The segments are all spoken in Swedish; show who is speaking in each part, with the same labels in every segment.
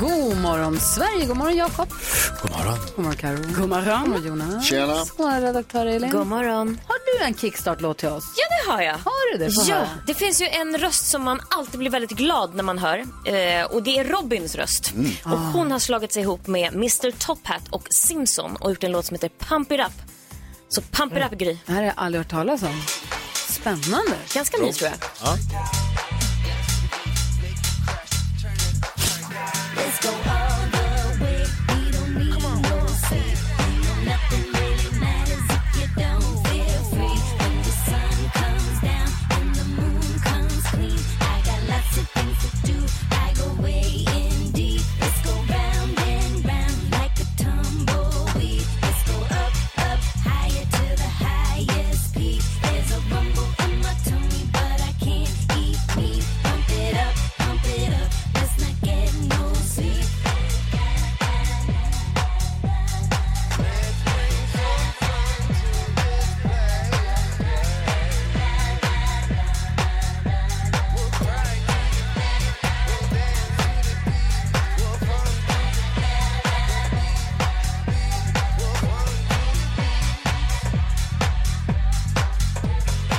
Speaker 1: God morgon Sverige, god morgon Jakob. God morgon. God morgon Karo. God morgon. Jonas.
Speaker 2: Tjena.
Speaker 1: God morgon redaktör Elin.
Speaker 3: God morgon.
Speaker 1: Har du en kickstart-låt till oss?
Speaker 3: Ja, det har jag.
Speaker 1: Har du det? Få
Speaker 3: Ja,
Speaker 1: höra.
Speaker 3: det finns ju en röst som man alltid blir väldigt glad när man hör. Eh, och det är Robins röst. Och
Speaker 1: Ah.
Speaker 3: hon har slagit sig ihop med Mr Top Hat och Simpson och gjort en låt som heter Pump It Up. Så Pump It Up, Gry.
Speaker 1: Mm. Det här har jag aldrig hört talas om. Spännande.
Speaker 3: Ganska ny, tror jag.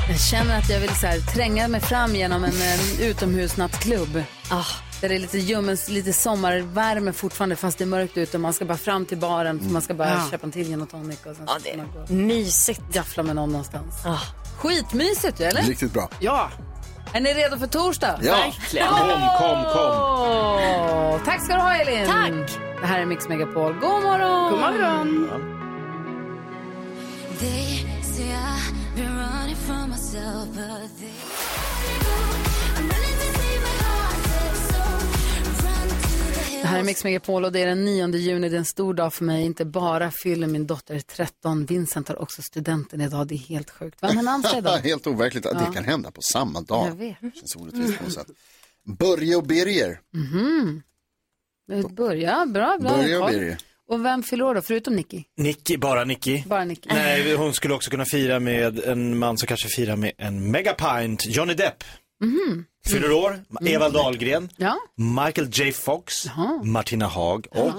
Speaker 1: Jag känner att jag vill så här, tränga mig fram genom en, en utomhusnattklubb. Ah, där det är lite ljummen, lite sommarvärme fortfarande fast det är mörkt ute och man ska bara fram till baren för man ska bara köpa en till gin och tonic och sen
Speaker 3: Ja,
Speaker 1: ska
Speaker 3: det
Speaker 1: man gå och
Speaker 3: är mysigt.
Speaker 1: gaffla med någon någonstans.
Speaker 3: Ah.
Speaker 1: Skitmysigt ju, eller?
Speaker 4: Riktigt bra.
Speaker 1: Är ni redo för torsdag?
Speaker 4: Ja.
Speaker 5: Kom, kom, kom.
Speaker 1: Åh, tack ska du ha Elin!
Speaker 3: Tack.
Speaker 1: Det här är Mix Megapol. God morgon! God morgon! Det här är Mix Megapol och det är den 9 juni. Det är en stor dag för mig. Inte bara fyller min dotter 13. Vincent tar också studenten idag. Det är helt sjukt. Vem har namnsdag
Speaker 4: Ja,
Speaker 1: idag?
Speaker 4: Helt overkligt att det kan hända på samma dag.
Speaker 1: Jag vet.
Speaker 4: Det känns orättvist på något sätt. Börje och Birger.
Speaker 1: Nu Mhm. börjar. Bra, bra.
Speaker 4: Börje och
Speaker 1: koll.
Speaker 4: Birger.
Speaker 1: Och vem fyller år då? Förutom Nicky?
Speaker 5: Nicky, bara Nicky.
Speaker 1: Bara Nicky.
Speaker 5: Nej, hon skulle också kunna fira med en man som kanske firar med en megapint, Johnny Depp. Fyller år, Eva Dahlgren,
Speaker 1: Mhm. Mm. Ja.
Speaker 5: Michael J Fox, Martina Haag och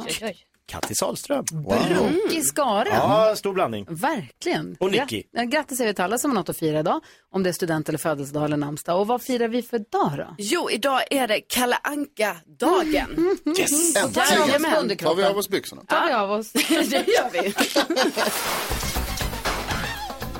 Speaker 5: Kattis Ahlström.
Speaker 4: Wow.
Speaker 1: I Skara.
Speaker 5: Ja, stor blandning.
Speaker 1: Verkligen.
Speaker 5: Och Nicky.
Speaker 1: Ja, grattis säger vi till alla som har något att fira idag. Om det är student eller födelsedag eller namnsdag. Och vad firar vi för dag då?
Speaker 6: Jo, idag är det Kalle Anka-dagen.
Speaker 5: Yes!
Speaker 1: Jajamän.
Speaker 4: Äntligen! Tar vi av oss byxorna?
Speaker 1: tar vi av oss.
Speaker 6: det gör vi.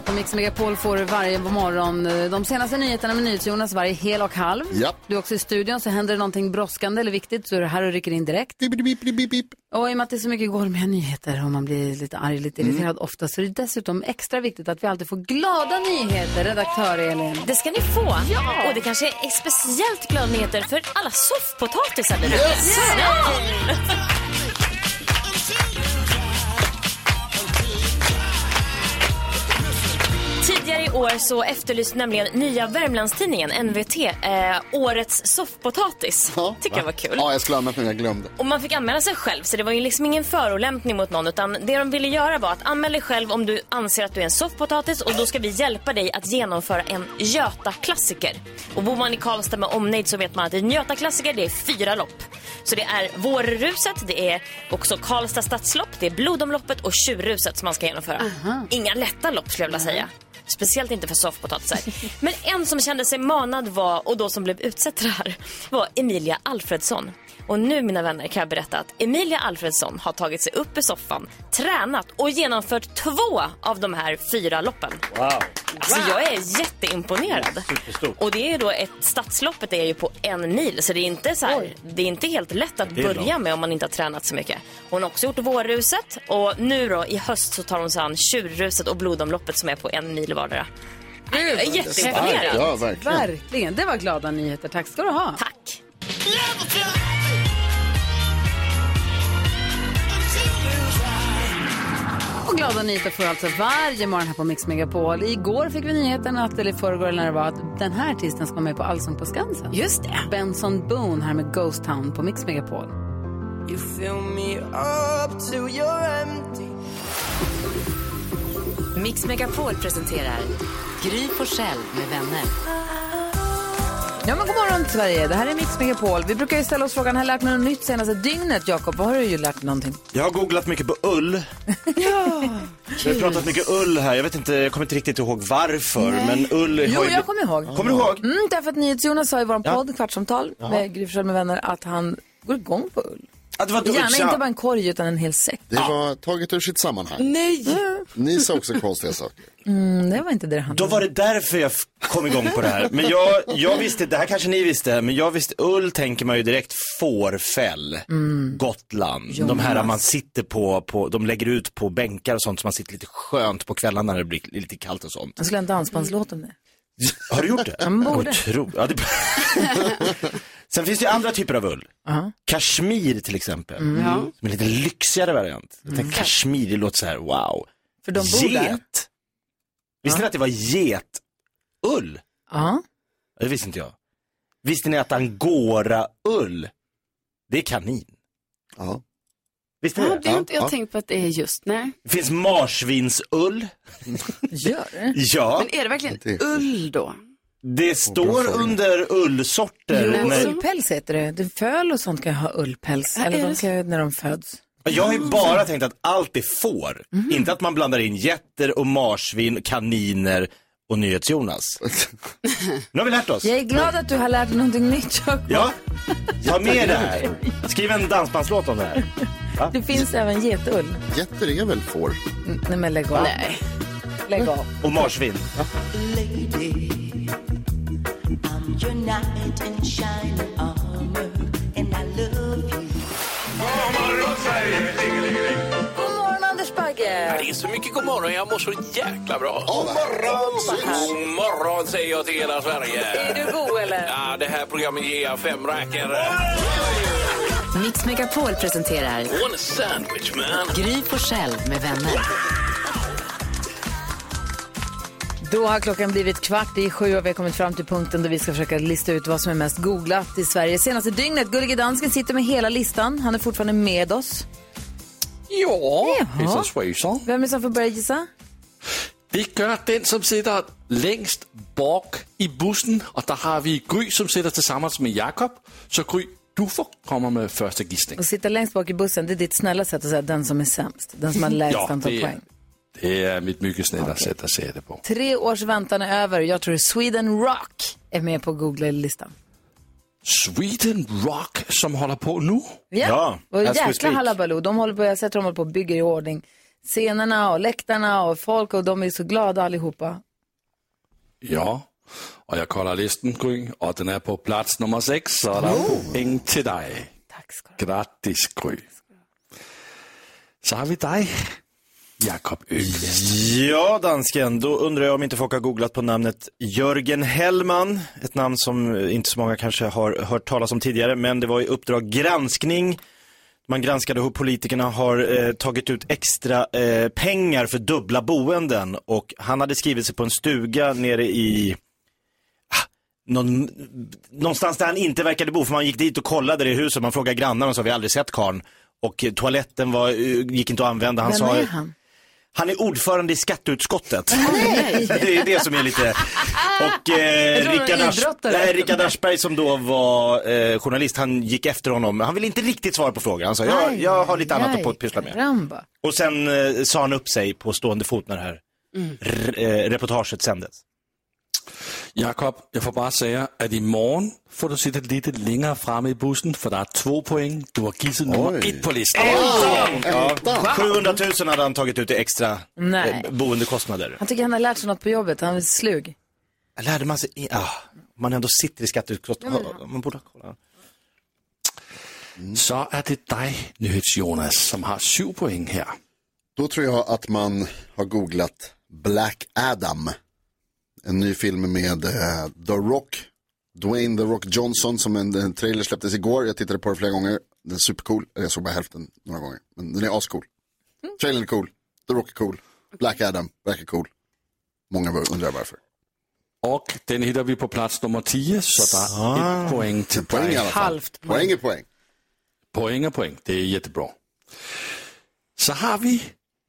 Speaker 1: Och Mix Megapol får varje morgon eh, de senaste nyheterna med NyhetsJonas varje hel och halv.
Speaker 4: Ja.
Speaker 1: Du är också i studion så händer det någonting brådskande eller viktigt så är du här och rycker in direkt.
Speaker 4: Bip, bip, bip, bip, bip.
Speaker 1: Och i och med att det är så mycket gormiga nyheter och man blir lite arg, lite irriterad
Speaker 4: Mm.
Speaker 1: ofta så är det dessutom extra viktigt att vi alltid får glada nyheter, redaktör Elin.
Speaker 3: Det ska ni få. Och det kanske är speciellt glada nyheter för alla soffpotatisar där ute. Ja. Tidigare i år så efterlyste nämligen Nya Värmlandstidningen, NVT, eh, årets soffpotatis.
Speaker 4: Ja.
Speaker 3: Tycker jag var kul.
Speaker 4: Ja, jag skulle ha använt men jag glömde.
Speaker 3: Och man fick anmäla sig själv så det var ju liksom ingen förolämpning mot någon utan det de ville göra var att anmäla dig själv om du anser att du är en soffpotatis och då ska vi hjälpa dig att genomföra en Göta-klassiker. Och bor man i Karlstad med omnejd så vet man att en Göta-klassiker det är fyra lopp. Så det är Vårruset, det är också Karlstad stadslopp, det är Blodomloppet och Tjurruset som man ska genomföra. Inga lätta lopp skulle jag vilja säga. Speciellt inte för soffpotatisar. Men en som kände sig manad var, och då som blev utsedd till det här, var Emilia Alfredsson. Och nu mina vänner kan jag berätta att Emilia Alfredsson har tagit sig upp i soffan, tränat och genomfört två av de här fyra loppen.
Speaker 5: Wow.
Speaker 3: Alltså jag är jätteimponerad.
Speaker 5: Superstort.
Speaker 3: Och det är ju då ett, stadsloppet är ju på en mil så det är inte så här, det är inte helt lätt att
Speaker 5: är
Speaker 3: börja med om man inte har tränat så mycket. Hon har också gjort vårruset och nu då i höst så tar hon sig an tjurruset och blodomloppet som är på en mil vardera. Jag är jätteimponerad.
Speaker 4: Ja, verkligen.
Speaker 1: Verkligen, det var glada nyheter. Tack ska du ha.
Speaker 3: Tack.
Speaker 7: Anita får alltså varje morgon här på Mix Megapol. Igår fick vi nyheten att, eller i förrgår eller när det var, att den här artisten ska vara med på Allsång på Skansen.
Speaker 6: Just det.
Speaker 7: Benson Boone här med Ghost Town på Mix Megapol.
Speaker 1: You fill me up till you're empty.
Speaker 8: Mix Megapol presenterar Gry Forssell med vänner.
Speaker 7: Ja, men god morgon Sverige, det här är Mix Megapol. Vi brukar ju ställa oss frågan, har jag lärt mig något nytt senaste dygnet, Jakob? Vad har du ju lärt dig någonting?
Speaker 5: Jag har googlat mycket på ull. Vi har pratat mycket ull här. Jag vet inte, jag kommer inte riktigt ihåg varför. Men ull har
Speaker 1: Jo,
Speaker 5: ju...
Speaker 1: jag kommer ihåg.
Speaker 5: Kommer du ihåg?
Speaker 1: Mm, därför att NyhetsJonas sa i vår podd, Kvartsamtal, med Gry Forssell med vänner, att han går igång på ull.
Speaker 5: Att det var du.
Speaker 1: Gärna
Speaker 5: tja.
Speaker 1: inte bara en korg utan en hel säck.
Speaker 4: Det var taget ur sitt sammanhang.
Speaker 1: Nej!
Speaker 4: Ni sa också konstiga saker.
Speaker 1: Mm, det var inte det det handlade
Speaker 5: Då var det därför jag f- kom igång på det här. Men jag, jag visste, det här kanske ni visste, men jag visste, ull tänker man ju direkt fårfäll,
Speaker 1: Mm.
Speaker 5: Gotland. De här
Speaker 1: alltså-
Speaker 5: man sitter på, på, de lägger ut på bänkar och sånt så man sitter lite skönt på kvällarna när det blir lite kallt och sånt.
Speaker 1: Jag skulle ha en dansbandslåt om det.
Speaker 5: Har du gjort det?
Speaker 1: Alltså, Man borde.
Speaker 5: Otro... Ja, det... Sen finns det ju andra typer av ull. Kashmir till exempel,
Speaker 1: Mm.
Speaker 5: som är lite lyxigare variant. Jag tänkte kashmir, det låter så här, wow.
Speaker 1: För de bor där.
Speaker 5: Get. Visste ni att det var getull?
Speaker 1: Ja.
Speaker 5: Det visste inte jag. Visste ni att angoraull, det är kanin?
Speaker 4: Ja.
Speaker 5: Visste ni
Speaker 6: Ja,
Speaker 5: det?
Speaker 6: det har inte jag
Speaker 4: Ja.
Speaker 6: tänkt på att det är just, nej.
Speaker 5: Det finns marsvinsull.
Speaker 1: Gör det?
Speaker 5: Ja,
Speaker 6: Men är det verkligen
Speaker 4: Det är-
Speaker 6: ull då?
Speaker 5: det står
Speaker 4: fråga.
Speaker 5: under ullsorter.
Speaker 1: Men
Speaker 5: Nej,
Speaker 1: Ullpäls heter det. det. Föl och sånt kan ju ha ullpäls.
Speaker 6: Ja, är
Speaker 1: eller
Speaker 6: det
Speaker 1: de kan ju, när de föds.
Speaker 5: Jag har ju bara tänkt att allt är får.
Speaker 6: Mhm.
Speaker 5: Inte att man blandar in getter och marsvin, kaniner och NyhetsJonas. Nu har vi lärt oss.
Speaker 1: Jag är glad att du har lärt dig någonting nytt, Jakob.
Speaker 5: Ja, ta med det här. Skriv en dansbandslåt om det här.
Speaker 1: Det finns även getull.
Speaker 4: Getter är väl får?
Speaker 1: Nej, men lägg av. Nej. Lägg av.
Speaker 5: Och marsvin.
Speaker 1: God morgon, Anders Bagge!
Speaker 9: Det är så mycket god morgon, jag mår så jäkla bra.
Speaker 4: Ja, vad härligt.
Speaker 9: God morgon säger jag till hela Sverige.
Speaker 1: Är du god, eller?
Speaker 9: Ja, det här programmet ger jag fem rackare.
Speaker 8: Mix Megapol presenterar
Speaker 9: One sandwich man.
Speaker 8: Gry Forssell med vänner.
Speaker 1: Då har klockan blivit kvart i sju och vi har kommit fram till punkten då vi ska försöka lista ut vad som är mest googlat i Sverige senaste dygnet. Gullige Dansken sitter med hela listan. Han är fortfarande med oss.
Speaker 9: Ja,
Speaker 1: hejsan
Speaker 9: svejsan.
Speaker 1: Vem är det som får börja gissa?
Speaker 9: Det gör den som sitter längst bak i bussen. Och där har vi Gry som sitter tillsammans med Jakob. Så Gry, du får komma med första gissning.
Speaker 1: Och sitta längst bak i bussen, det är ditt snälla sätt att säga den som är sämst. Den som har lägst antal
Speaker 9: det är,
Speaker 1: poäng.
Speaker 9: det är mitt mycket snälla sätt att säga det på.
Speaker 1: Tre års väntan är över. Jag tror Sweden Rock är med på Google-listan.
Speaker 9: Sweden Rock som håller på nu.
Speaker 5: Ja,
Speaker 1: och
Speaker 5: as we
Speaker 1: jäkla
Speaker 5: speak.
Speaker 1: hallabaloo. De håller på, jag har sett hur de håller på och bygger i ordning scenerna och läktarna och folk och de är så glada allihopa.
Speaker 9: Ja, och jag kollar listan Gry och den är på plats nummer sex så der er poäng till dig.
Speaker 1: Tack ska du ha.
Speaker 9: Grattis Gry. Så har vi dig, Jakob Öqvist.
Speaker 5: Ja, dansken, då undrar jag om inte folk har googlat på namnet Jörgen Hellman. Ett namn som eh, inte så många kanske har hört talas om tidigare, men det var i Uppdrag granskning. Man granskade hur politikerna har eh, tagit ut extra eh, pengar för dubbla boenden och han hade skrivit sig på en stuga nere i ah, någon, någonstans där han inte verkade bo, för man gick dit och kollade det huset, man frågade grannarna och så har vi aldrig sett karln. Och eh, toaletten var, eh, gick inte att använda. Han
Speaker 1: Vem
Speaker 5: sa,
Speaker 1: är han?
Speaker 5: han är ordförande i skatteutskottet. Det är det som är lite... Och eh,
Speaker 1: Ah! tror han är
Speaker 5: Rickard, Asch...
Speaker 1: idrottare.
Speaker 5: Nej, Rickard Aschberg som då var eh, journalist, han gick efter honom. Han ville inte riktigt svara på frågan. Han sa, jag,
Speaker 1: Aj,
Speaker 5: jag har lite annat
Speaker 1: aj,
Speaker 5: att pyssla med.
Speaker 1: Karamba.
Speaker 5: Och sen eh, sa han upp sig på stående fot när det här r- eh, reportaget sändes.
Speaker 9: Jakob, jag får bara säga att imorgon får du sitta lite längre fram i bussen för det är två poäng. Du har gissat nummer
Speaker 4: Oj.
Speaker 9: ett på listan.
Speaker 4: Äntan.
Speaker 5: 700 000 hade han tagit ut i extra
Speaker 1: Nej.
Speaker 5: eh, boendekostnader.
Speaker 1: Han tycker han har lärt sig något på jobbet, han är slug.
Speaker 5: Lärde man sig... i- Ah, man ändå sitter i skatteutskottet.
Speaker 1: Mm.
Speaker 5: Ah, Man borde ha kollat.
Speaker 9: Så är det dig, Nyhets-Jonas, som har sju poäng här.
Speaker 4: Då tror jag att man har googlat Black Adam. En ny film med eh, The Rock. Dwayne The Rock Johnson som en, en trailer släpptes igår. Jag tittade på den Eh, flera gånger.
Speaker 1: Mm.
Speaker 4: Den är supercool. Eller jag såg bara hälften några gånger. Men den är ascool. Trailern är cool. The Rock är cool. Black Adam, verkar cool. Många undrar varför.
Speaker 9: Och den hittar vi på plats nummer 10, så där är
Speaker 4: Ah.
Speaker 9: ett poäng till
Speaker 4: Ett poäng
Speaker 9: dig.
Speaker 4: i alla fall. Halvt poäng. Poäng är poäng.
Speaker 9: Poäng är poäng, det är jättebra. Så har vi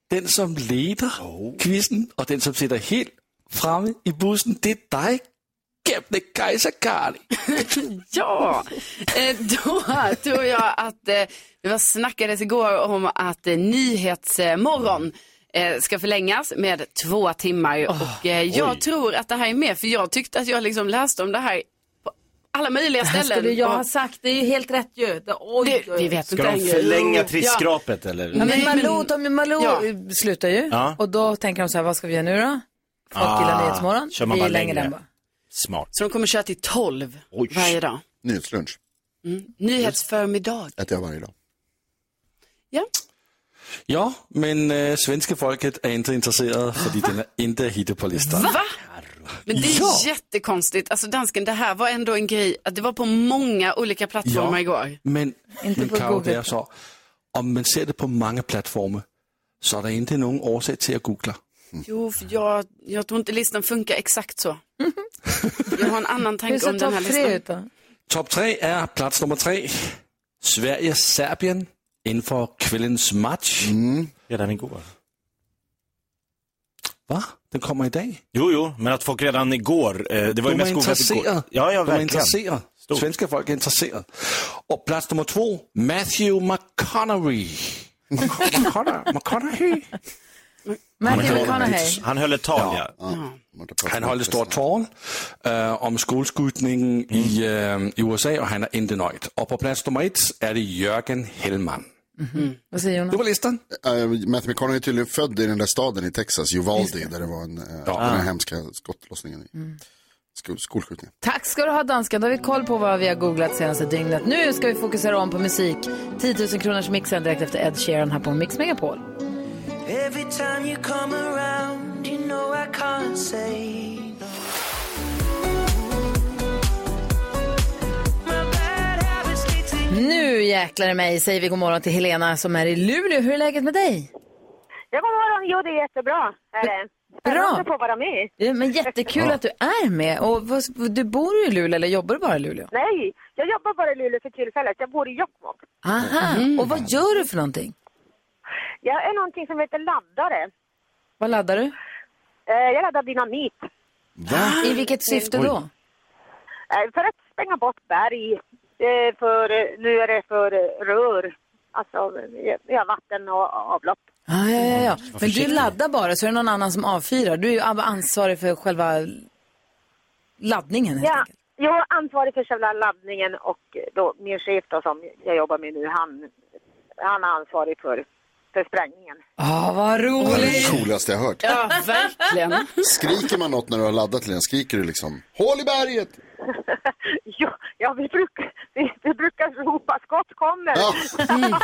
Speaker 9: den som leder
Speaker 4: Oh.
Speaker 9: quizen och den som sitter helt framme i bussen, det är dig, Captain Kaiser Kari.
Speaker 6: Ja, eh, då tror jag att eh, det var snackades igår om att eh, Nyhetsmorgon eh, ska förlängas med två timmar. och eh, jag
Speaker 7: oj.
Speaker 6: tror att det här är med, för jag tyckte att jag liksom läste om det här på alla möjliga
Speaker 7: Det här
Speaker 6: ställen.
Speaker 7: skulle jag ha
Speaker 6: sagt, det är ju helt rätt ju. det, vi vet
Speaker 5: Ska
Speaker 6: inte.
Speaker 5: de förlänga
Speaker 6: Jo. Ja.
Speaker 5: trisskrapet eller?
Speaker 1: Ja, men
Speaker 6: Nej, men-
Speaker 1: Malou, Tommy Malou
Speaker 6: Ja.
Speaker 1: slutar ju
Speaker 5: Ja. Ah,
Speaker 1: och då tänker de så här, vad ska vi göra nu då? Folk gillar Nyhetsmorgon.
Speaker 5: Kör man
Speaker 1: vi
Speaker 5: bara
Speaker 1: lägger
Speaker 5: längre.
Speaker 1: den bara.
Speaker 5: Smart.
Speaker 6: Så de kommer köra till tolv varje dag.
Speaker 4: Nyhetslunch
Speaker 6: Mm. Nyhetsförmiddag.
Speaker 4: äter jag varje dag.
Speaker 9: Ja, men äh, svenska folket är inte intresserade för den är inte hittat på listan.
Speaker 6: Va? Men det är
Speaker 9: Ja.
Speaker 6: jättekonstigt. Alltså dansken, det här var ändå en grej. att Det var på många olika plattformar igår.
Speaker 9: men,
Speaker 6: Inte
Speaker 9: men
Speaker 6: på
Speaker 9: Karo,
Speaker 6: Google.
Speaker 9: det är så. Om man ser det på många plattformar så är det inte någon orsak till att googla.
Speaker 6: Jo, för jag, jag tror inte listan funkar exakt så. Jag har en annan
Speaker 1: Hur
Speaker 6: tanke
Speaker 1: ser
Speaker 6: om den här
Speaker 1: topp tre
Speaker 6: listan.
Speaker 1: ut då?
Speaker 9: Top 3 är plats nummer 3. Sverige-Serbien inför kvällens match. Mm.
Speaker 5: Redan igår.
Speaker 9: Va? Den kommer idag.
Speaker 5: Jo, jo, men att folk redan igår, eh, det var ju
Speaker 9: De är
Speaker 5: mest googlat
Speaker 9: intresserade.
Speaker 5: igår. Ja, ja,
Speaker 9: De är
Speaker 5: verkligen.
Speaker 9: intresserade. Svenska folk är intresserade. Och plats nummer två, Matthew McConaughey. McConaughey. McConaughey.
Speaker 1: Matthew McConaughey.
Speaker 5: Han höll ett tal, ja.
Speaker 9: Han höll ett stort tal eh, om skolskjutningen i, eh, i USA och han är inte nöjd. Och på plats nummer ett är det Jörgen Hellman.
Speaker 5: Mm.
Speaker 1: Mhm. Vad säger Jonas?
Speaker 9: Det var listan.
Speaker 4: Uh, Matthew McConaughey är tydligen född i den där staden i Texas, Uvalde, där det var en, eh, den här hemska skottlossningen. I. Sko- skolskjutningen.
Speaker 1: Tack ska du ha dansken, då har vi koll på vad vi har googlat senaste dygnet. Nu ska vi fokusera om på musik. 10 000 kronors mixen direkt efter Ed Sheeran här på Mix Megapol.
Speaker 10: Every time you come around, you know I can't say no. My bad habits lead to
Speaker 1: Nu jäklar i mig säger vi god morgon till Helena som är i Luleå. Hur är läget med dig?
Speaker 11: Ja, god morgon. Jo, det är jättebra. Är det.
Speaker 1: Bra.
Speaker 11: Jag undrar på att vara med.
Speaker 1: Ja, men jättekul att du är med. Och vad, du bor ju i Luleå eller jobbar du bara i Luleå?
Speaker 11: Nej, jag jobbar bara i Luleå för tillfället. Jag bor i Jokkmokk.
Speaker 1: Aha, och vad gör du för någonting?
Speaker 11: Jag är någonting som heter laddare.
Speaker 1: Vad laddar du?
Speaker 11: Eh, Jag laddar dynamit.
Speaker 1: I vilket syfte
Speaker 11: Oj.
Speaker 1: då?
Speaker 11: Eh, För att spänga bort berg. Eh, För, eh, nu är det för eh, rör. Alltså, eh, ja, vatten och avlopp.
Speaker 1: Ah, ja, ja, ja. Men du
Speaker 11: försiktig.
Speaker 1: laddar bara så är det någon annan som avfyrar. Du är ju ansvarig för själva laddningen. helt
Speaker 11: Ja, jag är ansvarig för själva laddningen och eh, då min chef då, som jag jobbar med nu, han, han är ansvarig för, för sprängningen.
Speaker 1: Ja, vad
Speaker 4: Det är
Speaker 1: roligt!
Speaker 4: det coolaste jag hört.
Speaker 11: Ja, verkligen.
Speaker 4: Skriker man något när du har laddat till den? Skriker du liksom? Hål i berget!
Speaker 11: Ja, ja vi, brukar, vi, vi brukar ropa skott kommer.
Speaker 1: Mm,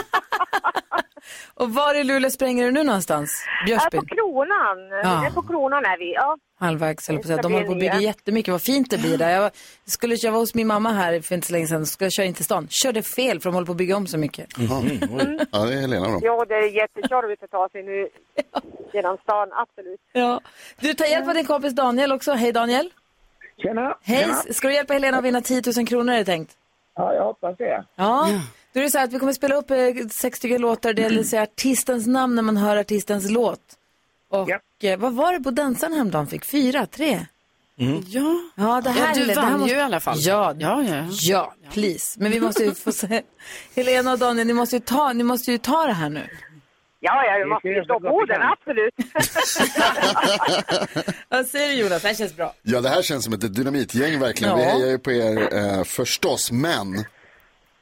Speaker 1: Och var i Luleå spränger du nu någonstans?
Speaker 11: Här
Speaker 1: Björkby?
Speaker 11: på kronan.
Speaker 1: Ja.
Speaker 11: Här på kronan är vi. Ja.
Speaker 1: Halvvägs, eller på att säga.
Speaker 11: Det
Speaker 1: De
Speaker 11: blir
Speaker 1: håller på att bygga
Speaker 11: nya.
Speaker 1: jättemycket. Vad fint det blir där. Jag var- skulle jag var hos min mamma här för inte så länge sedan. Skulle jag köra in till stan. Körde fel för de håller på att bygga om så mycket.
Speaker 11: Mm.
Speaker 4: oj. Ja, det är Helena och dem.
Speaker 11: ja, det är jättekörvigt att ta sig nu genom stan, absolut.
Speaker 1: Ja. Du tar hjälp av din kompis Daniel också. Hej Daniel!
Speaker 12: Tjena!
Speaker 1: Hej!
Speaker 12: Tjena.
Speaker 1: Ska du hjälpa Helena att vinna 10 000 kronor är det tänkt?
Speaker 12: Ja, jag hoppas det.
Speaker 1: Ja. Då är det så här att vi kommer spela upp eh, sex stycken låtar. Det gäller att säga artistens namn när man hör artistens låt. Och eh, vad var det på dansen häromdagen fick? Fyra? Tre?
Speaker 6: Ja.
Speaker 1: Ja, det
Speaker 6: Ja,
Speaker 1: här,
Speaker 6: du
Speaker 1: det
Speaker 6: vann
Speaker 1: här
Speaker 6: ju
Speaker 1: måste...
Speaker 6: i alla fall.
Speaker 1: Ja,
Speaker 6: ja, ja.
Speaker 1: ja please. Men vi måste ju få se. Helena och Daniel, ni måste ju ta, ni måste ju ta det här nu.
Speaker 11: Ja, ja, vi måste ju slå koden, absolut.
Speaker 1: Vad säger du Jonas? Det här känns bra.
Speaker 4: Ja, det här känns som ett dynamitgäng verkligen. Vi
Speaker 1: Ja.
Speaker 4: hejar ju på er eh, förstås, men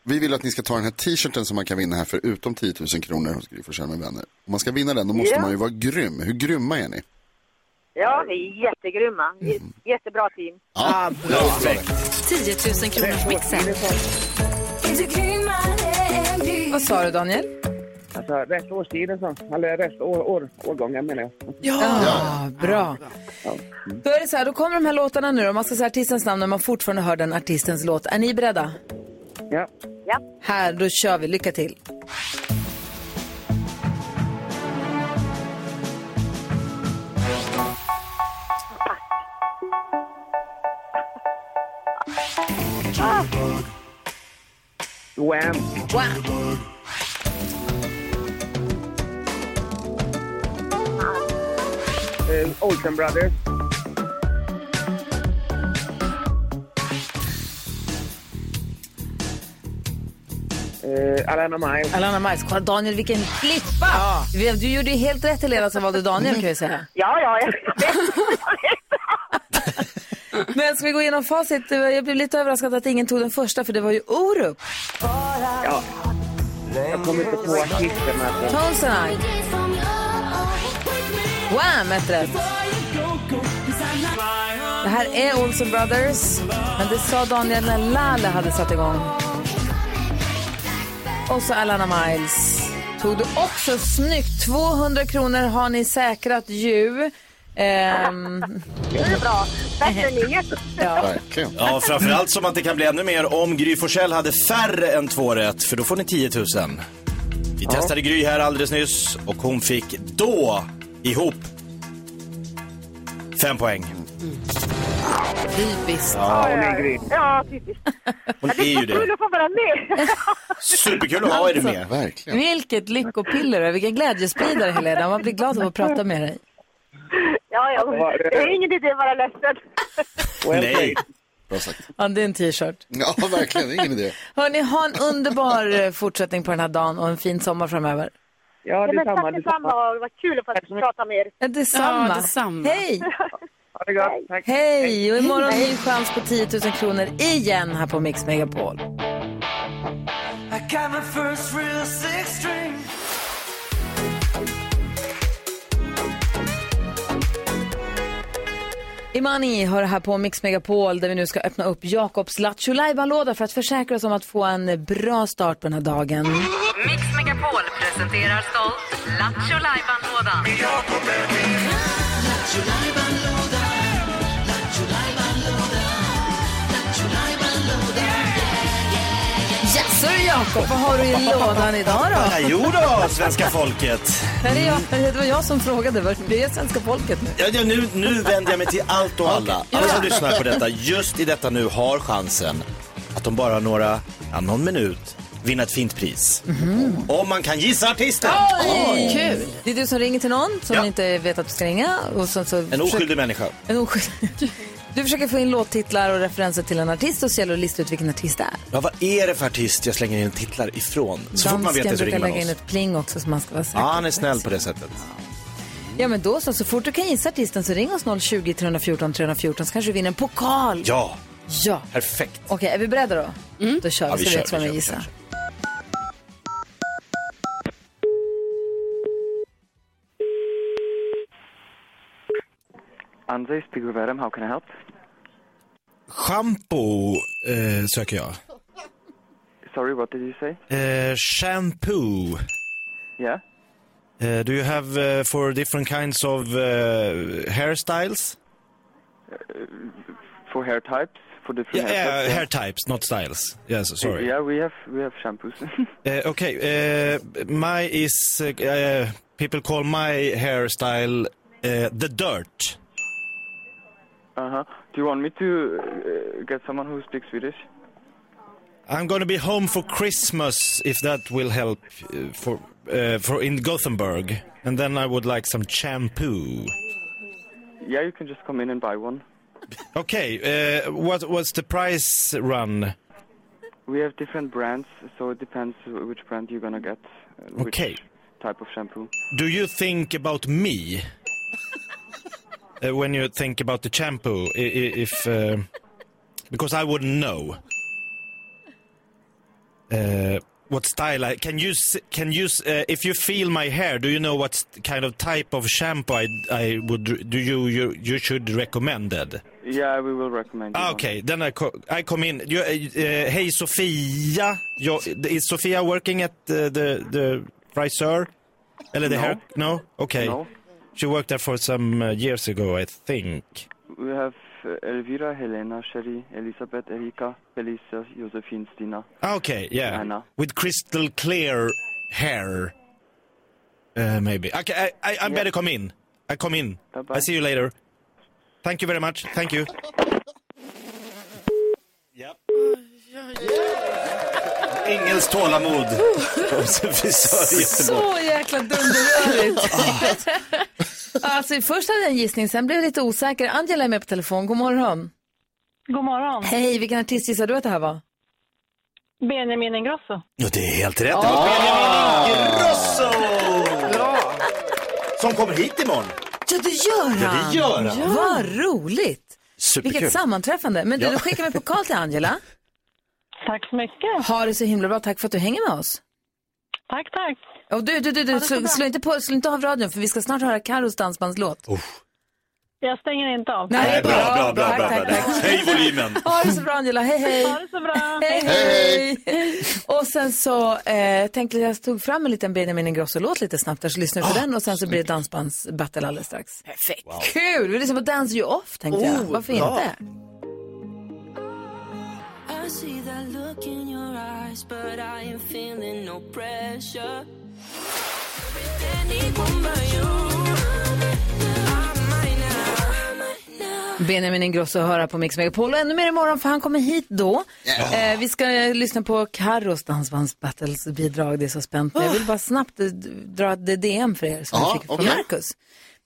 Speaker 4: vi vill att ni ska ta den här t-shirten som man kan vinna här för utom 10 000 kronor hos Gry Forssell med vänner. Om man ska vinna den, då måste
Speaker 11: Ja.
Speaker 4: man ju vara grym. Hur grymma är ni?
Speaker 11: Ja, vi är jättegrymma. Vi är ett Jättebra team.
Speaker 4: Ja, bra.
Speaker 8: 10 000 kronors mixen.
Speaker 1: Vad sa du Daniel?
Speaker 12: Alltså rätt årstiden så. Eller rätt år, år, årgångar menar jag.
Speaker 1: Ja, bra. Då är det så här, då kommer de här låtarna nu då. Man ska säga artistens namn när man fortfarande hör den artistens låt. Är ni beredda?
Speaker 12: Ja.
Speaker 11: Ja.
Speaker 1: Här, då kör vi. Lycka till.
Speaker 12: Wham!
Speaker 1: Wham!
Speaker 12: Eh, Olsen Brothers. Eh, Alana Miles.
Speaker 1: Alana Miles, kolla Daniel vilken klippa! Vi- Du gjorde ju helt rätt Helena som valde Daniel kan jag säga.
Speaker 11: Ja, ja, ja.
Speaker 1: Men ska vi gå igenom facit? Jag blev lite överraskad att ingen tog den första för det var ju Orup.
Speaker 12: Ja. Jag kommer inte på artisten. alltså.
Speaker 1: Tones and I. Wham hette det. Det här är Olsen Brothers, men det sa Daniel när Lale hade satt igång. Och så Alana Miles. Tog du också snyggt. 200 kronor har ni säkrat ju. Ehm...
Speaker 11: Det är bra. Bättre än inget.
Speaker 1: Ja.
Speaker 5: Ja, framförallt som att det kan bli ännu mer om Gry Forssell hade färre än två rätt, för då får ni 10 000. Vi
Speaker 12: Ja.
Speaker 5: testade Gry här alldeles nyss och hon fick då ihop fem poäng.
Speaker 7: Typiskt.
Speaker 5: Ja, hon är en grym.
Speaker 11: Ja, typiskt.
Speaker 5: Hon
Speaker 11: Det
Speaker 5: är
Speaker 11: är
Speaker 5: ju
Speaker 11: så kul
Speaker 5: det.
Speaker 11: att få vara med.
Speaker 5: Superkul att ha er med. Verkligen.
Speaker 1: Vilket lyckopiller och vilken glädjespridare Helena. Man blir glad av att prata med dig.
Speaker 11: Ja, ja. Det är ingen idé att vara ledsen.
Speaker 5: Nej.
Speaker 4: Bra sagt.
Speaker 1: Ja, det är en t-shirt.
Speaker 4: Ja, verkligen. Ingen idé.
Speaker 1: Hörni, ha en underbar eh, fortsättning på den här dagen och en fin sommar framöver.
Speaker 12: Ja,
Speaker 11: men
Speaker 12: detsamma.
Speaker 11: tack detsamma. Det var kul att få prata med er.
Speaker 1: Ja, detsamma.
Speaker 11: Ja,
Speaker 1: detsamma. Hej!
Speaker 12: Ha det gott. Tack.
Speaker 1: Hej! Och imorgon ny chans på 10 000 kronor igen här på Mix Megapol.
Speaker 10: I got my first real six string.
Speaker 1: Imani hör här på Mix Megapol där vi nu ska öppna upp Jakobs Lattjo låda för att försäkra oss om att få en eh, bra start på den här dagen.
Speaker 8: Mix Megapol presenterar stolt Lattjo Lajban-lådan.
Speaker 1: Yes, hörru Jakob, vad har du i lådan idag då?
Speaker 5: Ja, jo då, svenska folket.
Speaker 1: Här är jag, det var jag som frågade, var- det är svenska folket nu.
Speaker 5: Ja, ja, nu, nu vänder jag mig till allt och alla. Alla som lyssnar på detta, just i detta nu, har chansen att de bara några, ja, någon minut vinna ett fint pris. Om man kan gissa artisten!
Speaker 1: Oj! Det är du som ringer till någon som inte vet att du ska ringa. Och sen så
Speaker 5: En oskyldig människa.
Speaker 1: En oskyldig. Du försöker få in låttitlar och referenser till en artist och så gäller det att lista ut vilken artist det är.
Speaker 5: Ja, vad är det för artist jag slänger in titlar ifrån? Så fort man vet det så ringer
Speaker 1: brukar
Speaker 5: man
Speaker 1: lägga in
Speaker 5: oss.
Speaker 1: ett pling också som man ska vara säker
Speaker 5: Ja, han är snäll på det sättet.
Speaker 1: Ja men då så, så fort du kan gissa artisten så ring oss 020 314 314 så kanske du vinner en pokal.
Speaker 5: Ja,
Speaker 1: Ja.
Speaker 5: perfekt.
Speaker 1: Okej, är vi beredda då? Då kör vi,
Speaker 5: Ja, vi
Speaker 1: så
Speaker 5: kör,
Speaker 1: vet vem
Speaker 5: vi
Speaker 1: vi
Speaker 5: kör, vi
Speaker 1: gissar.
Speaker 13: Andrei Spiguverum, how can I help?
Speaker 5: Shampoo eh, söker jag.
Speaker 13: Sorry, what did you say?
Speaker 5: Eh, shampoo.
Speaker 13: Yeah?
Speaker 5: Eh, do you have eh, for different kinds of eh, hairstyles?
Speaker 13: Uh, For hair types? For different
Speaker 5: Yeah,
Speaker 13: hair types?
Speaker 5: eh, hair types, not styles. Yes, sorry.
Speaker 13: Yeah, we have, we have shampoos.
Speaker 5: Eh, okay, eh, my is, eh, eh, people call my hairstyle eh, the dirt.
Speaker 13: uh-huh. Do you want me to uh, get someone who speaks Swedish?
Speaker 5: I'm gonna be home for Christmas if that will help eh, for, eh, for in Gothenburg. And then I would like some shampoo.
Speaker 13: Yeah, you can just come in and buy one.
Speaker 5: Okay, uh, what was the price run?
Speaker 13: We have different brands, so it depends which brand you're gonna get. and Which
Speaker 5: Okay.
Speaker 13: type of shampoo.
Speaker 5: Do you think about me uh, when you think about the shampoo? I- i- If uh, because I wouldn't know uh, what style. I can you s- can you s- uh, if you feel my hair? Do you know what st- kind of type of shampoo I, I would do you you you should recommend it?
Speaker 13: Yeah, we will recommend you
Speaker 5: Ah,
Speaker 13: one.
Speaker 5: okay, then I, co- I come in. You, uh, uh, hey Sofia, Yo, is Sofia working at the the, the friseur? Eller the
Speaker 13: No.
Speaker 5: hair? No. Okay.
Speaker 13: No.
Speaker 5: She worked there for some uh, years ago, I think.
Speaker 13: We have uh, Elvira, Helena, Sherry, Elisabeth, Erika, Felicia, Josephine, Stina.
Speaker 5: Ah, Okay, yeah.
Speaker 13: Anna.
Speaker 5: With crystal clear hair, uh, maybe. Okay, I, I, I better come in. I come in. I see you later. Thank you very much. Thank you. Engels tålamod hos en frisör i Göteborg.
Speaker 1: Så jäkla dunderrörigt. alltså, först hade jag en gissning, sen blev jag lite osäker. Angela är med på telefon. God morgon.
Speaker 14: God morgon.
Speaker 1: Hej, vilken artist gissar du att det här var?
Speaker 14: Benjamin Ingrosso.
Speaker 5: Ja, det är helt rätt. Det var Benjamin Ingrosso! Som kommer hit imorgon.
Speaker 1: Ja, det
Speaker 5: Ja,
Speaker 1: gör
Speaker 5: det
Speaker 1: han.
Speaker 5: gör han. Ja.
Speaker 1: Vad roligt.
Speaker 5: Superkul.
Speaker 1: Vilket sammanträffande. Men du,
Speaker 5: Ja.
Speaker 1: du skickar med pokal till Angela.
Speaker 14: Tack så mycket.
Speaker 1: Ha det så himla bra. Tack för att du hänger med oss.
Speaker 14: Tack, tack.
Speaker 1: Och du, du, du,
Speaker 14: Ha
Speaker 1: du
Speaker 14: det så
Speaker 1: slå,
Speaker 14: bra.
Speaker 1: slå, inte på, slå inte av radion för vi ska snart höra Carros dansbandslåt.
Speaker 14: Jag stänger inte av.
Speaker 1: Nej, bra, bra, bra,
Speaker 5: bra, bra, bra. Höj volymen.
Speaker 1: Ha det så bra Angela, hej hej.
Speaker 14: Ha det så bra.
Speaker 1: Hej hej. Och sen så eh, tänkte jag, jag tog fram en liten Benjamin Ingrosso-låt lite snabbt där så lyssnar vi på den och sen så blir det dansbandsbattle alldeles strax.
Speaker 14: Perfekt.
Speaker 1: Kul, vi lyssnar på Dance You Off tänkte jag.
Speaker 14: Oh,
Speaker 1: Varför
Speaker 14: bra.
Speaker 1: inte?
Speaker 10: I see that look in your eyes, but I am feeling no pressure. Everything equal by you.
Speaker 1: Benjamin Ingrosso höra på Mix Megapol och ännu mer imorgon för han kommer hit då.
Speaker 10: Yeah.
Speaker 1: Eh, vi ska eh, lyssna på Carros dansbandsbattlesbidrag, det är så spänt. Men jag vill bara snabbt eh, d- dra ett DM för er som
Speaker 10: Jaha,
Speaker 1: vi fick från
Speaker 10: okej.
Speaker 1: Marcus.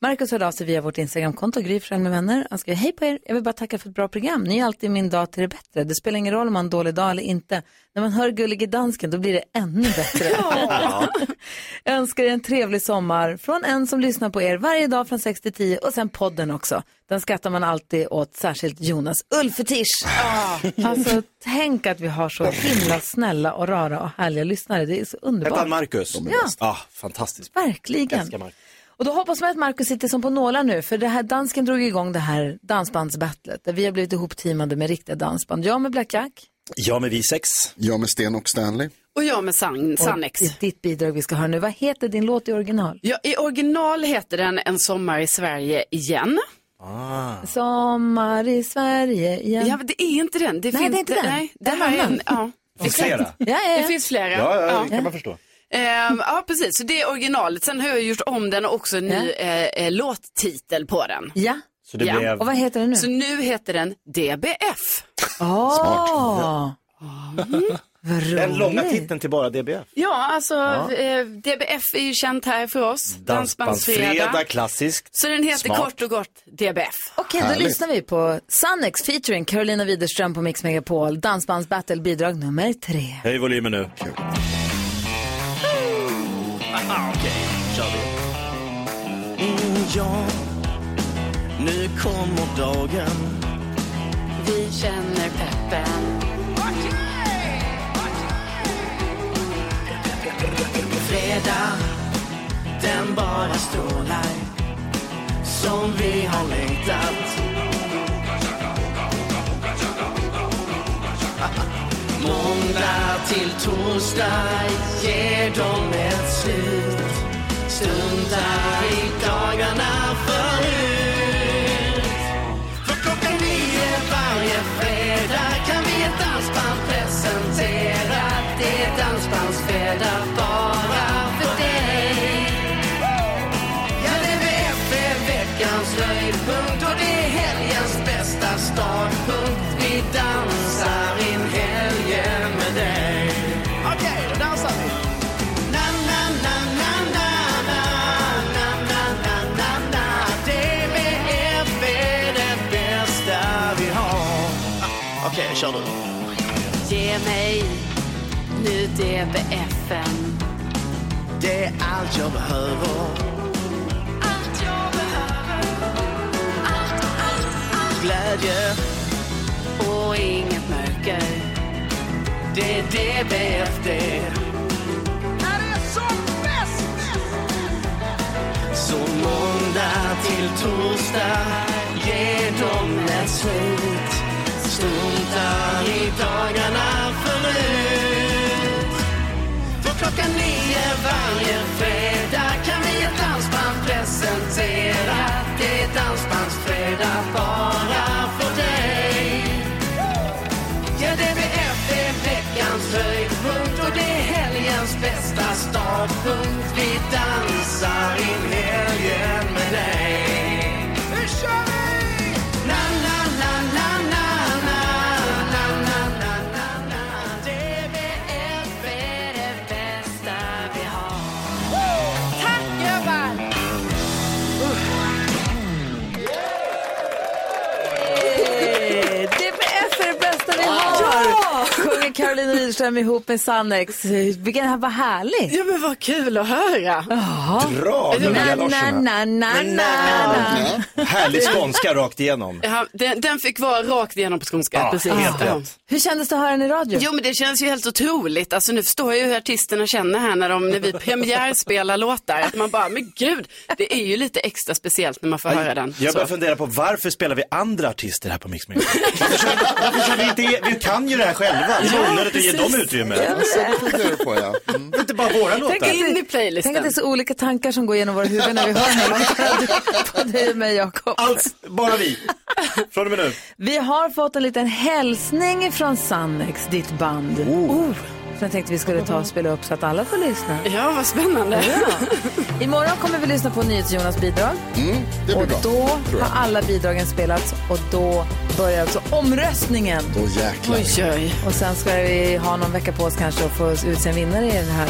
Speaker 1: Marcus hörde av sig via vårt Instagramkonto, Gry Forssell med vänner. Han skrev, hej på er, jag vill bara tacka för ett bra program. Ni är alltid min dag till det bättre. Det spelar ingen roll om man har en dålig dag eller inte. När man hör Gullige Dansken då blir det ännu bättre. Jag önskar er en trevlig sommar från en som lyssnar på er varje dag från 6 till 10 och sen podden också. Den skattar man alltid åt, särskilt Jonas Ulfetisch.
Speaker 5: Ah.
Speaker 1: Alltså, tänk att vi har så himla snälla och rara och härliga lyssnare. Det är så
Speaker 5: Hette han
Speaker 1: underbart.
Speaker 5: Marcus?
Speaker 1: Ja.
Speaker 5: Ah, fantastiskt.
Speaker 1: Verkligen.
Speaker 5: Älskar Marcus.
Speaker 1: Och då hoppas man att Markus sitter som på nålar nu, för det här dansken drog igång det här dansbandsbattlet, där vi har blivit ihopteamade med riktiga dansband. Jag med Black Jack.
Speaker 4: Jag med Visex. Jag med Sten och Stanley.
Speaker 6: Och jag med
Speaker 5: Mm,
Speaker 6: San,
Speaker 1: Och
Speaker 6: Sannex.
Speaker 1: det är ditt bidrag vi ska höra nu. Vad heter din låt i original?
Speaker 6: Ja, I original heter den En sommar i Sverige igen.
Speaker 10: Ah.
Speaker 1: Sommar i Sverige igen.
Speaker 6: Ja, men det är inte den. Det
Speaker 1: nej,
Speaker 6: finns
Speaker 1: det är inte
Speaker 6: det-
Speaker 1: den.
Speaker 6: nej,
Speaker 1: det
Speaker 6: det
Speaker 1: är
Speaker 6: här
Speaker 1: en
Speaker 6: är en-
Speaker 1: annan.
Speaker 6: ja.
Speaker 5: Det finns flera.
Speaker 1: Ja, ja, ja.
Speaker 6: Det finns flera.
Speaker 5: Ja, ja, det kan man förstå.
Speaker 6: Ehm, ja, precis. Så det är originalet. Sen har jag gjort om den och också en ny eh, eh, låttitel på den.
Speaker 1: Ja.
Speaker 5: Så det blev- Och
Speaker 1: vad heter den nu?
Speaker 6: Så nu heter den DBF.
Speaker 1: Oh.
Speaker 5: Den långa titeln till bara DBF.
Speaker 6: Ja, alltså
Speaker 5: Ja.
Speaker 6: eh, DBF är ju känt här för oss.
Speaker 5: Dansbandsfredag, klassiskt.
Speaker 6: Så den heter
Speaker 5: Smart.
Speaker 6: kort och gott DBF.
Speaker 1: Okej, då lyssnar vi på Sannex featuring Carolina Widerström på Mix Megapol, dansbandsbattle bidrag nummer tre.
Speaker 5: Höj volymen nu.
Speaker 10: Aha, okej. Kör vi. Mm, ja, nu kommer dagen.
Speaker 6: Vi känner peppen.
Speaker 10: Fredag, den bara strålar som vi har längtat. Måndag till torsdag ger de ett slut. Stundar i dagarna förut. För klockan nio varje fredag kan vi ett dansband presentera. Det är dansbandsfredag bara för dig. Ja, DBF är E, veckans höjdpunkt och det är helgens bästa startpunkt. Vi dansar in helgen med dig. Okej, då dansar vi. Na, na, na, na, na, na, na, na, na, na, na. DBF är det bästa vi har. Okej, kör du.
Speaker 6: Ge mig nu DBFen.
Speaker 10: Det är allt jag behöver. Allt jag behöver. Allt, allt, allt. Glädje.
Speaker 6: Och inget mörker.
Speaker 10: Det är DBF det. Här är som bäst! Så måndag till torsdag ger dem ett slut. Struntar i dagarna förut. För klockan nio varje fredag kan vi ett dansband presentera. Det är dansbandsfredag bara för dig. Ja, DBF är veckans höjdpunkt och det är helgens bästa startpunkt. Vi dansar in helgen med dig. Nu kör vi! Na, na, na, na, na, na, na, na, na, na, na. DBF
Speaker 1: Malin och Widerström ihop med Sannex. Vilken, vad härligt.
Speaker 6: Ja, men vad kul att höra.
Speaker 1: Jaha.
Speaker 5: Dra,
Speaker 1: na,
Speaker 5: Maria
Speaker 1: na, na,
Speaker 5: Larsson.
Speaker 1: na, na, na.
Speaker 5: Härlig skånska rakt igenom.
Speaker 6: Ja, den, den fick vara rakt igenom på skånska.
Speaker 5: Ja,
Speaker 6: precis.
Speaker 5: helt
Speaker 6: Ja.
Speaker 5: rätt.
Speaker 1: Hur kändes det att höra den i radio?
Speaker 6: Jo men det känns ju helt otroligt. Alltså nu förstår jag ju hur artisterna känner här när, de, när vi premiärspelar låtar. Att man bara, men gud, det är ju lite extra speciellt när man får höra den.
Speaker 5: Jag
Speaker 6: Så.
Speaker 5: börjar fundera på varför spelar vi andra artister här på Mix Megapol? Varför kör vi- varför kör vi inte e- Vi kan ju det här själva. Det är onödigt att ge dem utrymme.
Speaker 4: på, ja.
Speaker 5: Inte bara våra
Speaker 1: Tänk att,
Speaker 5: låtar.
Speaker 6: In i playlisten.
Speaker 1: tänk att det är så olika tankar som går genom våra huvuden när vi hör den här låten. På dig och mig, Jakob.
Speaker 5: Allt, bara vi. Från och med nu.
Speaker 1: Vi har fått en liten hälsning från Sannex, ditt band. Oh. Så jag tänkte vi skulle ta och spela upp så att alla får lyssna.
Speaker 6: Ja, vad spännande.
Speaker 1: Imorgon kommer vi lyssna på NyhetsJonas bidrag.
Speaker 4: Mm, det blir
Speaker 1: och
Speaker 4: bra,
Speaker 1: då
Speaker 4: tror jag.
Speaker 1: har alla bidragen spelats och då börjar alltså omröstningen.
Speaker 4: Då jäklar.
Speaker 1: Och sen ska vi ha någon vecka på oss kanske att få utse en vinnare i den här,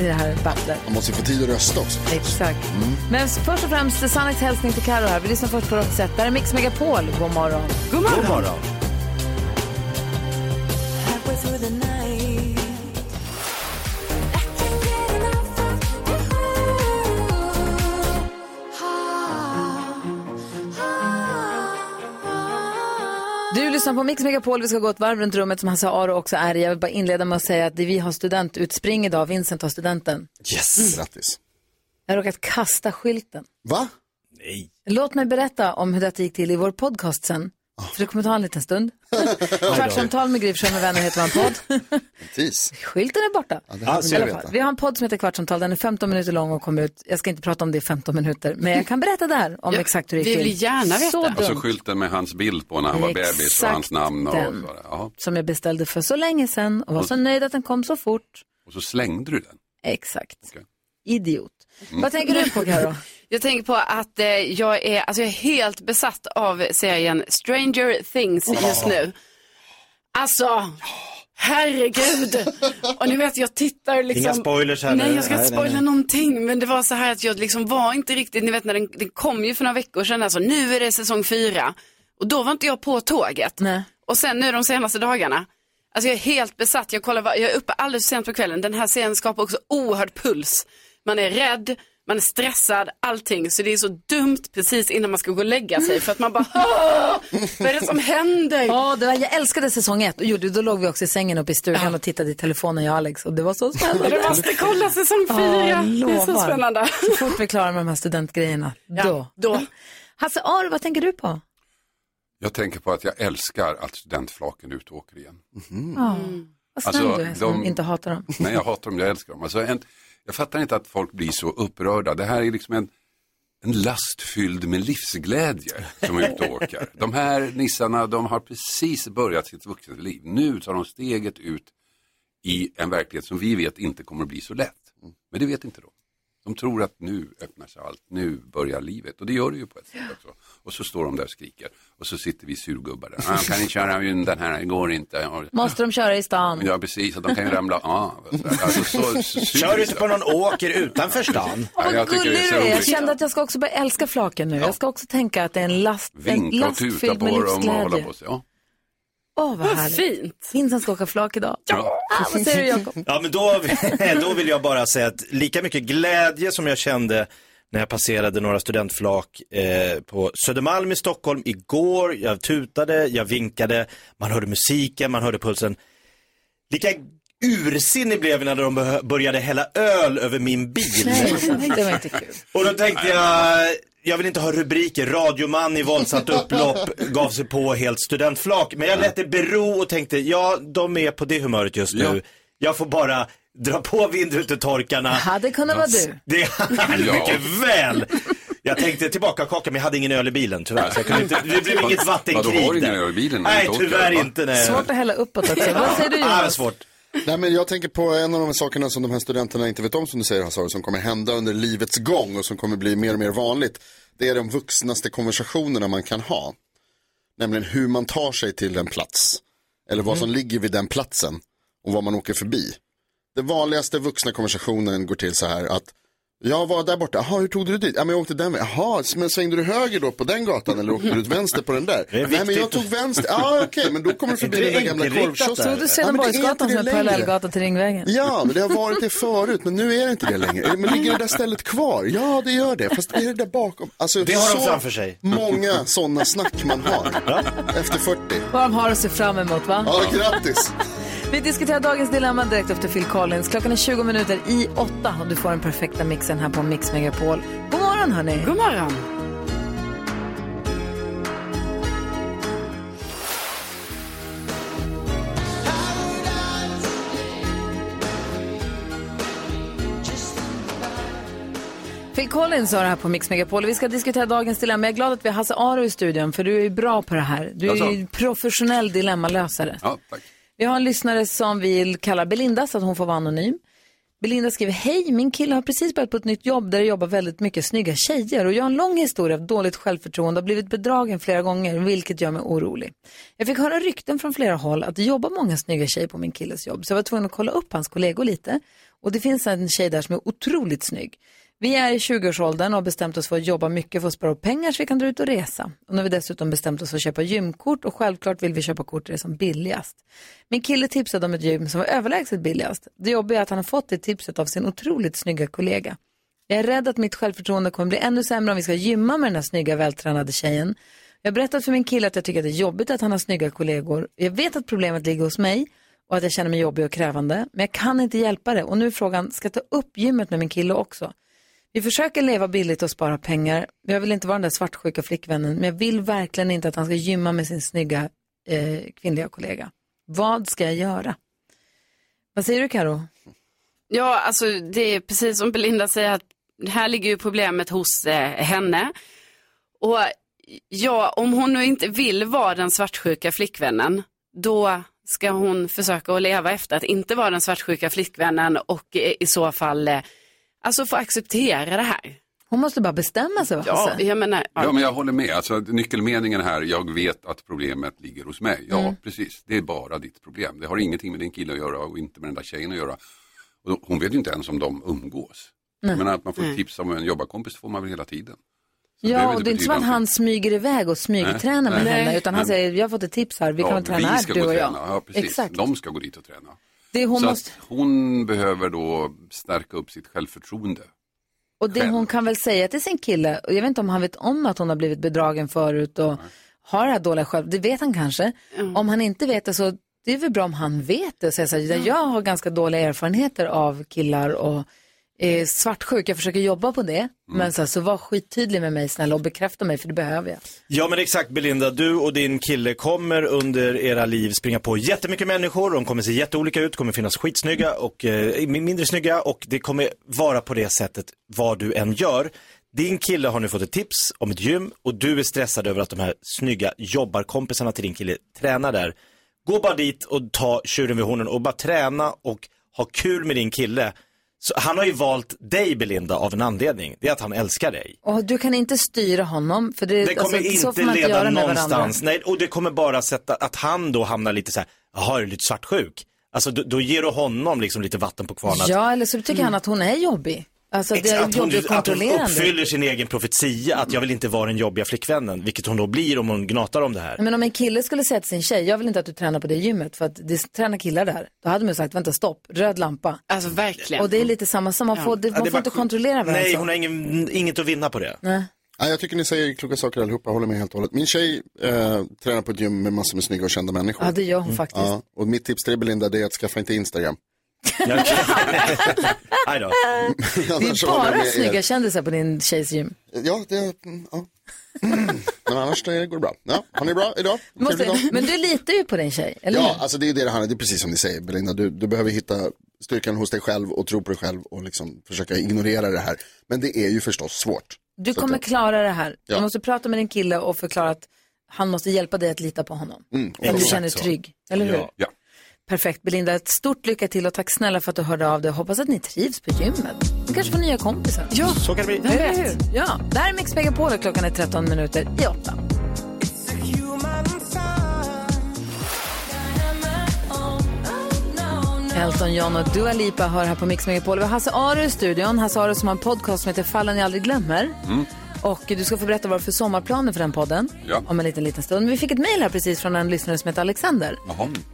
Speaker 1: i det här battlet.
Speaker 4: Man måste ju få tid att rösta också. Mm.
Speaker 1: Exakt. Men först och främst, Sannex hälsning till Karo här. Vi lyssnar först på Roxette. Där är Mix Megapol. God morgon.
Speaker 6: God
Speaker 5: morgon. God morgon.
Speaker 1: Du lyssnar på Mix Megapol. Vi ska gå ett varv runt rummet som Hasse Aro också är i. Jag vill bara inleda med att säga att det- vi har studentutspring idag. Vincent har studenten. Mm.
Speaker 4: Yes. Grattis.
Speaker 1: Jag har råkat kasta skylten.
Speaker 4: Va?
Speaker 1: Låt mig berätta om hur detta gick till i vår podcast sen.
Speaker 4: Ah.
Speaker 1: För det kommer ta en liten stund. Kvartsamtal med Gry Forssell med vänner heter vår podd.
Speaker 4: Tis.
Speaker 1: Skylten är borta.
Speaker 4: Ja, det här vill
Speaker 1: I
Speaker 4: jag
Speaker 1: alla fall.
Speaker 4: veta.
Speaker 1: Vi har en podd som heter Kvartsamtal. Den är 15 minuter lång och kommer ut. Jag ska inte prata om det i 15 minuter. Men jag kan berätta där om
Speaker 6: Ja,
Speaker 1: exakt hur det gick
Speaker 6: vi
Speaker 1: till.
Speaker 6: vill gärna veta.
Speaker 1: Så
Speaker 4: Alltså,
Speaker 15: Och så
Speaker 1: dumt.
Speaker 15: Alltså, skylten med hans bild på när han var
Speaker 1: Exakt
Speaker 15: bebis och hans namn och,
Speaker 1: den.
Speaker 15: sådär. Ja.
Speaker 1: Som jag beställde för så länge sedan och var
Speaker 4: Mm.
Speaker 1: så nöjd att den kom så fort.
Speaker 15: och så slängde du den. Mm.
Speaker 1: Exakt. Idiot. Vad tänker du på, Karo?
Speaker 6: Mm. Jag tänker på att eh, jag, är, alltså jag är helt besatt av serien Stranger Things just nu. Alltså, herregud. Och ni vet, jag tittar liksom.
Speaker 5: Inga spoilers här
Speaker 6: Nej,
Speaker 5: nu.
Speaker 6: jag ska
Speaker 5: Nej,
Speaker 6: inte
Speaker 5: nej,
Speaker 6: spoila
Speaker 5: nej.
Speaker 6: någonting. Men det var så här att jag liksom var inte riktigt, ni vet när den, den kom ju för några veckor sedan, alltså nu är det säsong fyra. Och då var inte jag på tåget. Och sen nu de senaste dagarna. Alltså jag är helt besatt, jag, kollar, var- jag är uppe alldeles sent på kvällen. Den här serien skapar också oerhörd puls. Man är rädd, man är stressad, allting. Så det är så dumt precis innan man ska gå och lägga sig. För att man bara, "Åh, vad är det som händer?
Speaker 1: Ja, det var, jag älskade säsong ett. Och gjorde, då låg vi också i sängen uppe i stugan och tittade i telefonen, jag och Alex. Och det var så spännande.
Speaker 6: Du måste kolla säsong fyra. det är så
Speaker 1: lovar.
Speaker 6: spännande.
Speaker 1: Så fort vi är klara med de här studentgrejerna, då.
Speaker 6: då.
Speaker 1: Hasse Aro, vad tänker du på?
Speaker 15: Jag tänker på att jag älskar att studentflaken ut och åker igen.
Speaker 1: Ja. Vad snäll
Speaker 15: Alltså,
Speaker 1: du är som
Speaker 15: de-
Speaker 1: inte hatar dem.
Speaker 15: Nej, jag hatar dem, jag älskar dem. Alltså, en, jag fattar inte att folk blir så upprörda. Det här är liksom en, en last fylld med livsglädje som är ute och åker. De här nissarna, de har precis börjat sitt vuxenliv. Nu tar de steget ut i en verklighet som vi vet inte kommer att bli så lätt. Men det vet inte de. De tror att nu öppnar sig allt, nu börjar livet. Och det gör det ju på ett sätt också. Och så står de där och skriker. Och så sitter vi surgubbar där. Ah, kan ni köra in den här, det går inte.
Speaker 1: Måste de köra i stan?
Speaker 15: Ja, precis. Att de kan ju ramla av. Alltså, så, så,
Speaker 5: Kör inte på någon åker utanför stan.
Speaker 15: Ja, jag tycker det
Speaker 1: Gullig
Speaker 15: är
Speaker 1: du
Speaker 15: så
Speaker 1: är. Jag
Speaker 15: roligt.
Speaker 1: kände att jag ska också börja älska flaken nu. Jag ska också tänka att det är en last, en
Speaker 15: Vinka och
Speaker 1: last
Speaker 15: tuta
Speaker 1: fylld
Speaker 15: på
Speaker 1: med
Speaker 15: dem och hålla
Speaker 1: livsglädje.
Speaker 15: på sig. Ja.
Speaker 1: Åh, vad
Speaker 6: Vad
Speaker 1: härligt. fint. Vincent ska åka flak idag.
Speaker 5: Ja.
Speaker 1: Ah, vad säger du, Jakob?
Speaker 5: Ja, men då, då vill jag bara säga att lika mycket glädje som jag kände när jag passerade några studentflak eh, på Södermalm i Stockholm igår. Jag tutade, jag vinkade, man hörde musiken, man hörde pulsen. Lika ursinnig blev jag när de beh- började hälla öl över min bil.
Speaker 1: det var inte kul.
Speaker 5: Och då tänkte jag, jag vill inte ha rubriker, radioman i våldsamt upplopp gav sig på helt studentflak. Men jag lät det bero och tänkte, ja de är på det humöret just nu. Jag får bara dra på vindrutetorkarna.
Speaker 1: Hade kunnat vara du.
Speaker 5: Det hade
Speaker 1: Ja.
Speaker 5: mycket väl. Jag tänkte tillbaka kaka men jag hade ingen öl i bilen tyvärr. Så jag kunde inte, det blev inget vattenkrig
Speaker 15: Vadå, har du ingen
Speaker 5: där.
Speaker 15: öl i bilen när du
Speaker 5: Nej,
Speaker 15: inte åker,
Speaker 5: tyvärr
Speaker 15: va?
Speaker 5: inte. Ah, Nej.
Speaker 1: Svårt att hälla uppåt också. Vad säger du, Jonas?
Speaker 5: svårt.
Speaker 4: Nej, men jag tänker på en av de här sakerna som de här studenterna inte vet om som du säger Hasse Aro, som kommer hända under livets gång och som kommer bli mer och mer vanligt. Det är de vuxnaste konversationerna man kan ha. Nämligen hur man tar sig till en plats. Eller
Speaker 1: Mm.
Speaker 4: vad som ligger vid den platsen och vad man åker förbi. Den vanligaste vuxna konversationen går till så här att Jag var där borta, jaha hur tog du dit? Ja men jag åkte den vägen, jaha men svängde du höger då på den gatan eller åkte du ut vänster på den där?
Speaker 10: Det är
Speaker 4: Nej men jag
Speaker 10: viktigt.
Speaker 4: tog vänster, ja okej men då kommer du förbi
Speaker 10: Det är
Speaker 4: den där gamla
Speaker 10: enkelriktat
Speaker 4: korvkiosken.
Speaker 10: där. Såg
Speaker 4: Ja,
Speaker 10: du
Speaker 4: men det är
Speaker 1: Söderborgsgatan
Speaker 4: inte
Speaker 1: som
Speaker 4: det
Speaker 1: en
Speaker 4: längre.
Speaker 1: parallellgata till Ringvägen.
Speaker 4: Ja, men det har varit det förut, men nu är det inte det längre. Men ligger det där stället kvar? Ja, det gör det. Fast är det där bakom? Alltså,
Speaker 5: Det har de
Speaker 4: så
Speaker 5: framför sig.
Speaker 4: många sådana snack man har efter 40.
Speaker 1: Vad de har att se fram emot, va?
Speaker 4: Ja, grattis.
Speaker 1: Vi diskuterar dagens dilemma direkt efter Phil Collins. Klockan är 20 minuter i åtta och du får den perfekta mixen här på Mix Megapol. God morgon, hörni!
Speaker 6: God morgon!
Speaker 1: Phil Collins har det här på Mix Megapol. Vi ska diskutera dagens dilemma. Jag är glad att vi har Hasse Aro i studion, för du är ju bra på det här. Du är ju
Speaker 10: Jaså?
Speaker 1: professionell dilemmalösare.
Speaker 15: Ja, tack.
Speaker 1: Vi har en lyssnare som vi kallar Belinda så att hon får vara anonym. Belinda skriver, hej, min kille har precis börjat på ett nytt jobb där det jobbar väldigt mycket snygga tjejer och jag har en lång historia av dåligt självförtroende och har blivit bedragen flera gånger vilket gör mig orolig. Jag fick höra rykten från flera håll att det jobbar många snygga tjejer på min killes jobb så jag var tvungen att kolla upp hans kollegor lite och det finns en tjej där som är otroligt snygg. Vi är i 20-årsåldern och har bestämt oss för att jobba mycket för att spara upp pengar så vi kan dra ut och resa. Och nu har vi dessutom bestämt oss för att köpa gymkort och självklart vill vi köpa kort där det är som billigast. Min kille tipsade om ett gym som var överlägset billigast. Det jobbiga är att han har fått det tipset av sin otroligt snygga kollega. Jag är rädd att mitt självförtroende kommer bli ännu sämre om vi ska gymma med den här snygga vältränade tjejen. Jag har berättat för min kille att jag tycker att det är jobbigt att han har snygga kollegor. Jag vet att problemet ligger hos mig och att jag känner mig jobbig och krävande. Men jag kan inte hjälpa det. Och nu är frågan, ska jag ta upp gymmet med min kille också? Vi försöker leva billigt och spara pengar. Men Jag vill inte vara den där svartsjuka flickvännen. Men jag vill verkligen inte att han ska gymma med sin snygga eh, kvinnliga kollega. Vad ska jag göra? Vad säger du Karo?
Speaker 6: Ja, alltså det är precis som Belinda säger att här ligger ju problemet hos eh, henne. Och ja, om hon nu inte vill vara den svartsjuka flickvännen, då ska hon försöka att leva efter att inte vara den svartsjuka flickvännen och eh, i så fall eh, alltså få acceptera det här.
Speaker 1: Hon måste bara bestämma sig. va,
Speaker 6: Ja,
Speaker 1: Hasse?
Speaker 6: jag menar,
Speaker 15: Ja, men jag håller med. Alltså, nyckelmeningen här, jag vet att problemet ligger hos mig. Ja,
Speaker 6: Mm.
Speaker 15: precis. Det är bara ditt problem. Det har ingenting med din kille att göra och inte med den där tjejen att göra. Och hon vet ju inte ens om de umgås.
Speaker 1: Nej.
Speaker 15: Jag menar att man får
Speaker 1: Nej.
Speaker 15: tips om en jobbarkompis får man väl hela tiden. Så det är väl
Speaker 1: Ja, och
Speaker 15: inte
Speaker 1: det är inte som att
Speaker 15: betydande.
Speaker 1: han smyger iväg och smygtränar med
Speaker 15: Nej.
Speaker 1: henne, utan han
Speaker 15: Nej.
Speaker 1: säger, jag har fått ett tips här, vi kan väl träna
Speaker 15: vi
Speaker 1: här,
Speaker 15: ska
Speaker 1: du
Speaker 15: gå
Speaker 1: och
Speaker 15: och
Speaker 1: jag.
Speaker 15: träna. Ja, precis.
Speaker 1: Exakt.
Speaker 15: De ska gå dit och träna.
Speaker 1: Det hon,
Speaker 15: så
Speaker 1: måste,
Speaker 15: att hon behöver då stärka upp sitt självförtroende.
Speaker 1: och det hon kan väl säga till sin kille, och jag vet inte om han vet om att hon har blivit bedragen förut och har det här dåliga själv, det vet han kanske. Om han inte vet det så, det är väl bra om han vet det och säger så här, jag har ganska dåliga erfarenheter av killar och är svartsjuk, jag försöker jobba på det,
Speaker 5: Mm.
Speaker 1: men så, här, så var skittydlig med mig snälla och bekräfta mig för det behöver jag.
Speaker 5: Ja men exakt Belinda, du och din kille kommer under era liv springa på jättemycket människor, de kommer se jätteolika ut, kommer finnas skitsnygga och eh, min- mindre snygga och det kommer vara på det sättet vad du än gör. Din kille har nu fått ett tips om ett gym och du är stressad över att de här snygga jobbarkompisarna till din kille tränar där. Gå bara dit och ta tjuren vid hornen och bara träna och ha kul med din kille. Så han har ju valt dig Belinda av en anledning, det är att han älskar dig.
Speaker 1: Och du kan inte styra honom, för det,
Speaker 5: Det kommer
Speaker 1: alltså, så får
Speaker 5: inte
Speaker 1: man inte
Speaker 5: leda
Speaker 1: göra med varandra.
Speaker 5: någonstans. Nej, och det kommer bara sätta att han då hamnar lite så här, jaha, är du lite svartsjuk? Alltså då, då ger du honom liksom lite vatten på kvarnen. att-
Speaker 1: Ja, eller så tycker han att hon är jobbig. Alltså det är
Speaker 5: att, hon,
Speaker 1: jobbigt
Speaker 5: att hon
Speaker 1: kontrollerande.
Speaker 5: uppfyller sin egen profetia, att jag vill inte vara den jobbiga flickvännen, vilket hon då blir om hon gnatar om det här.
Speaker 1: Nej, Men om en kille skulle säga till sin tjej, jag vill inte att du tränar på det gymmet för att det tränar killar där. Då hade man ju sagt, vänta stopp, röd lampa.
Speaker 6: Alltså verkligen.
Speaker 1: Och det är lite samma som, man
Speaker 6: Ja.
Speaker 1: får, det,
Speaker 6: Ja, det
Speaker 1: man
Speaker 6: är
Speaker 1: får
Speaker 6: bara
Speaker 1: inte
Speaker 6: sjuk-
Speaker 1: kontrollera varandra.
Speaker 5: Nej, hon har ingen, Mm, inget att vinna på det.
Speaker 1: Nej.
Speaker 4: Ja, jag tycker ni säger kloka saker allihopa, håller med helt och hållet. Min tjej eh, tränar på ett gym med massor med snygga och kända människor.
Speaker 1: Ja, det gör hon
Speaker 5: Mm.
Speaker 1: faktiskt.
Speaker 4: Ja, och mitt tips till dig Belinda, det är att skaffa inte Instagram.
Speaker 5: Nej då.
Speaker 1: Det är bara snygga kändisar på din tjejs gym.
Speaker 4: Ja, det, mm, ja. men annars det går det bra. Ja, har ni bra idag? Trevlig
Speaker 1: Måste,
Speaker 4: dag.
Speaker 1: men du litar ju på din tjej, eller
Speaker 4: Ja,
Speaker 1: hur?
Speaker 4: alltså det är det det handlar om. Det är precis som ni säger Belinda. Du, du behöver hitta styrkan hos dig själv och tro på dig själv och liksom försöka ignorera det här. Men det är ju förstås svårt.
Speaker 1: Du
Speaker 4: Så
Speaker 1: kommer
Speaker 4: att det-
Speaker 1: klara det här. Du
Speaker 4: Ja.
Speaker 1: måste prata med din kille och förklara att han måste hjälpa dig att lita på honom.
Speaker 4: Mm,
Speaker 1: Om du känner dig trygg, eller hur?
Speaker 15: Ja.
Speaker 1: Perfekt Belinda, ett stort lycka till och tack snälla för att du hörde av dig. Hoppas att ni trivs på gymmet. Du kanske får nya kompisar.
Speaker 6: Ja,
Speaker 5: så kan det bli.
Speaker 1: Eller hur? Ja, det här är Mix Megapol och klockan är 13 minuter i 8. Elton John och Dua Lipa hör här på Mix Megapol. Vi har Hasse Aro i studion. Hasse Aro som har en podcast som heter Fallen jag aldrig glömmer.
Speaker 10: Mm.
Speaker 1: Och du ska få berätta vad du har för sommarplaner för den podden
Speaker 10: Ja.
Speaker 1: om en liten, liten stund. Men Vi fick ett mejl här precis från en lyssnare som heter Alexander.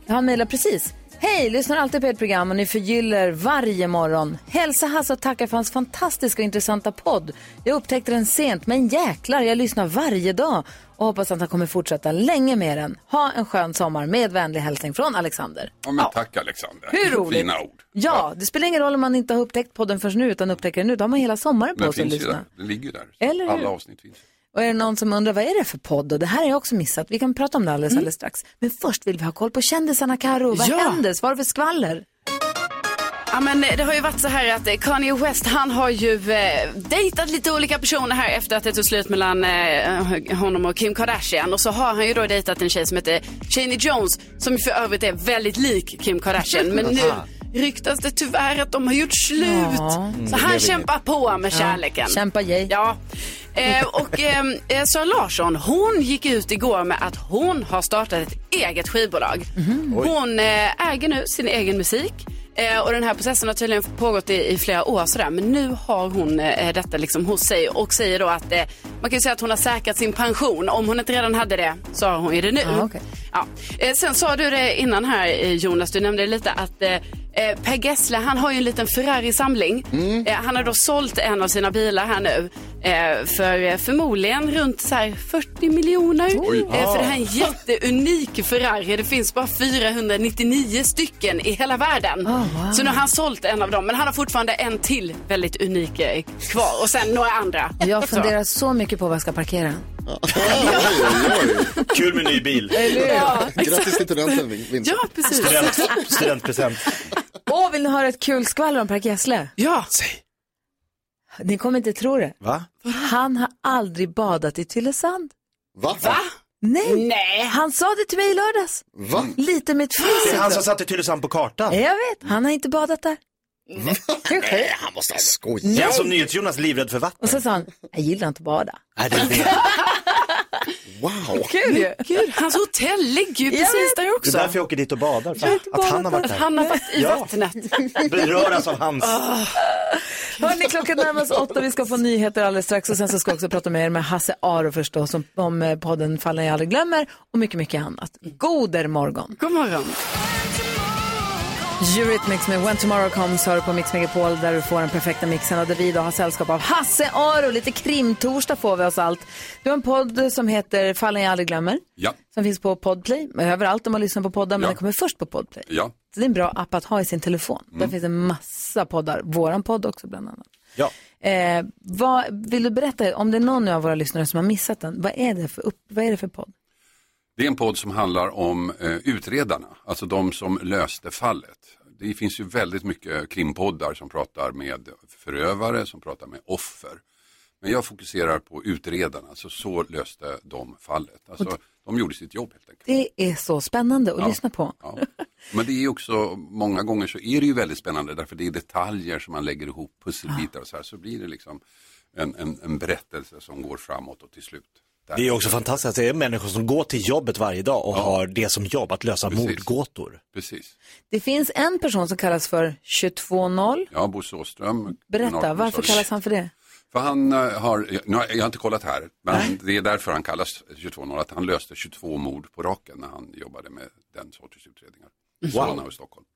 Speaker 1: Han mejlar precis. Hej, lyssnar alltid på ert program och ni förgyller varje morgon. Hälsa Hasse och tacka för hans fantastiska och intressanta podd. Jag upptäckte den sent, men jäklar, jag lyssnar varje dag och hoppas att han kommer fortsätta länge med den. Ha en skön sommar med vänlig hälsning från Alexander.
Speaker 15: Ja, men tack Alexander.
Speaker 1: Hur roligt.
Speaker 15: Fina ord.
Speaker 1: Ja, det spelar ingen roll om man inte har upptäckt podden förrän nu utan upptäcker den nu. Då har man hela sommaren
Speaker 15: Men
Speaker 1: på sig att
Speaker 15: finns ju
Speaker 1: lyssna.
Speaker 15: där. Den ligger ju där.
Speaker 1: Eller hur?
Speaker 15: Alla avsnitt finns.
Speaker 1: Och är det någon som undrar vad är det för podd? Och det här har jag också missat. Vi kan prata om det alldeles, alldeles strax. Men först vill vi ha koll på kändisarna Karo. Vad
Speaker 6: Ja.
Speaker 1: händer? Vad är det för skvaller?
Speaker 6: Ja, men det har ju varit så här att eh, Kanye West han har ju eh, dejtat lite olika personer här efter att det tog slut mellan eh, honom och Kim Kardashian. Och så har han ju då dejtat en tjej som heter Cheney Jones som ju för övrigt är väldigt lik Kim Kardashian. Men nu ryktas det tyvärr att de har gjort slut.
Speaker 1: Ja. Mm,
Speaker 6: Så
Speaker 1: det blev
Speaker 6: han kämpar på med
Speaker 1: Ja,
Speaker 6: kärleken.
Speaker 1: kämpa jej.
Speaker 6: Ja. Eh, och ehm, eh, Sara Larsson, hon gick ut igår med att hon har startat ett eget skivbolag.
Speaker 10: Oj.
Speaker 1: Mm-hmm.
Speaker 6: Hon eh, äger nu sin egen musik. Eh, och den här processen har tydligen pågått i, i flera år sådär. Men nu har hon eh, detta liksom hos sig och säger då att eh, man kan ju säga att hon har säkrat sin pension. Om hon inte redan hade det så har hon ju det nu.
Speaker 10: Ah, okej.
Speaker 6: ja. eh, sen sa du det innan här eh, Jonas, du nämnde lite att eh, eh, Per Gessle han har ju en liten Ferrari-samling.
Speaker 10: Mm.
Speaker 6: Eh, han har då sålt en av sina bilar här nu. Eh, för eh, förmodligen runt så här 40 miljoner.
Speaker 10: Oj.
Speaker 6: Eh, för det här är en
Speaker 5: Ah.
Speaker 6: jätteunik Ferrari. Det finns bara 499 stycken i hela världen.
Speaker 1: Ah,
Speaker 10: wow.
Speaker 6: Så nu har han sålt en av dem. Men han har fortfarande en till väldigt unik eh, kvar. Och sen några andra.
Speaker 1: Jag
Speaker 6: Så.
Speaker 1: funderar så mycket på var jag ska parkera den.
Speaker 5: Kul med ny bil.
Speaker 1: Eller hur? Ja,
Speaker 4: Grattis till studenten, Vinter.
Speaker 6: Ja, precis.
Speaker 5: Student, studentpresent.
Speaker 1: Åh, vill ni höra ett kul skvaller om Per Gessle?
Speaker 6: Ja.
Speaker 5: Säg.
Speaker 1: Ni kommer inte tro det.
Speaker 5: Va?
Speaker 1: Han har aldrig badat i Tylösand.
Speaker 4: Va?
Speaker 1: Nej. han sa det till mig i lördags.
Speaker 4: Va?
Speaker 1: Lite med ett fis.
Speaker 5: Det är han som
Speaker 1: också.
Speaker 5: satte Tylösand på kartan.
Speaker 1: Jag vet, han har inte badat där.
Speaker 5: Nej, han måste ha skojat.
Speaker 1: Nej.
Speaker 5: Det är han som NyhetsJonas livrädd för vatten.
Speaker 1: Och så sa han, jag gillar inte att bada.
Speaker 5: Nej, det är det. Wow.
Speaker 1: Kul ju.
Speaker 6: Gud, hans hotell ligger ju
Speaker 1: Jag
Speaker 6: precis
Speaker 1: vet.
Speaker 6: där också.
Speaker 5: Det är därför jag åker dit och badar. För
Speaker 6: Jag
Speaker 5: att han har varit där.
Speaker 6: Han har varit i
Speaker 5: Ja.
Speaker 6: vattnet. Ah,
Speaker 5: Beröras av hans.
Speaker 1: Hörni, klockan närmar sig åtta. Vi ska få nyheter alldeles strax och sen så ska jag också prata med er med Hasse Aro förstås om, om eh, podden Fallen jag aldrig glömmer och mycket, mycket annat. Goder morgon!
Speaker 6: God morgon!
Speaker 1: Eurythmics med When Tomorrow Comes hör du på Mix Megapol där du får den perfekta mixen och där vi idag har sällskap av Hasse Aro. Lite krimtorsdag får vi oss allt. Du har en podd som heter Fallen jag aldrig glömmer
Speaker 15: Ja,
Speaker 1: som finns på Podplay, överallt om man lyssnar på poddar men
Speaker 15: Ja.
Speaker 1: den kommer först på Podplay.
Speaker 15: ja.
Speaker 1: Så det är en bra app att ha i sin telefon.
Speaker 15: Mm.
Speaker 1: Där finns en massa poddar, våran podd också bland annat.
Speaker 5: Ja.
Speaker 1: Eh, vad, vill du berätta, om det är någon nu av våra lyssnare som har missat den, vad är det för, upp, vad är det för podd?
Speaker 15: Det är en podd som handlar om eh, utredarna, alltså de som löste fallet. Det finns ju väldigt mycket krimpoddar som pratar med förövare, som pratar med offer. Men jag fokuserar på utredarna, alltså så löste de fallet. Alltså, de gjorde sitt jobb. helt enkelt.
Speaker 1: Det är så spännande att
Speaker 15: Ja.
Speaker 1: lyssna på.
Speaker 15: Men det är ju också, många gånger så är det ju väldigt spännande därför det är detaljer som man lägger ihop, pusselbitar och så här. Så blir det liksom en, en, en berättelse som går framåt och till slut.
Speaker 5: Det är ju också fantastiskt att det är människor som går till jobbet varje dag och har det som jobb att lösa mordgåtor.
Speaker 15: Precis.
Speaker 1: Det finns en person som kallas för 220.
Speaker 15: Ja, Bosse Åström.
Speaker 1: Berätta,
Speaker 15: kriminalkommissarien.
Speaker 1: varför kallas han för det?
Speaker 15: För han eh, har, nu har, jag har inte kollat här, men det är därför han kallas 22-0, att han löste 22 mord på raken när han jobbade med den sortens utredningar.
Speaker 1: Wow.
Speaker 15: Solna och Stockholm.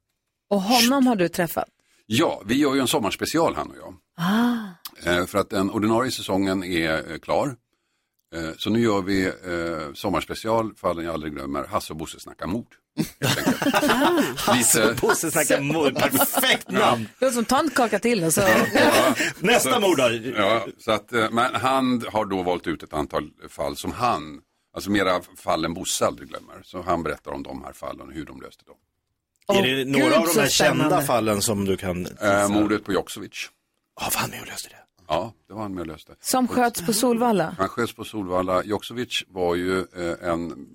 Speaker 1: Och honom har du träffat?
Speaker 15: Ja, vi gör ju en sommarspecial han och jag.
Speaker 1: Ah.
Speaker 15: Eh, För att den ordinarie säsongen är eh, klar. Eh, Så nu gör vi eh, sommarspecial, fallen jag aldrig glömmer, Hasse och Bosse snackar mord. Hasse och
Speaker 5: Bosse snackar mord, perfekt namn.
Speaker 1: Det var som tantkaka till och så.
Speaker 5: Nästa mord då.
Speaker 15: Ja, så att, eh, men han har då valt ut ett antal fall som han, alltså mera fall än Bosse aldrig glömmer. Så han berättar om de här fallen och hur de löste dem.
Speaker 5: är det några
Speaker 15: gud,
Speaker 5: av
Speaker 15: så
Speaker 5: de här
Speaker 15: spännande.
Speaker 5: kända fallen som du kan...
Speaker 15: Eh, mordet på Jaksovic.
Speaker 5: Ja, var han med och löste det?
Speaker 15: Ja, det var han med och löste.
Speaker 1: Som sköts på Solvalla.
Speaker 15: Han sköts på Solvalla. Joksovic var ju eh, en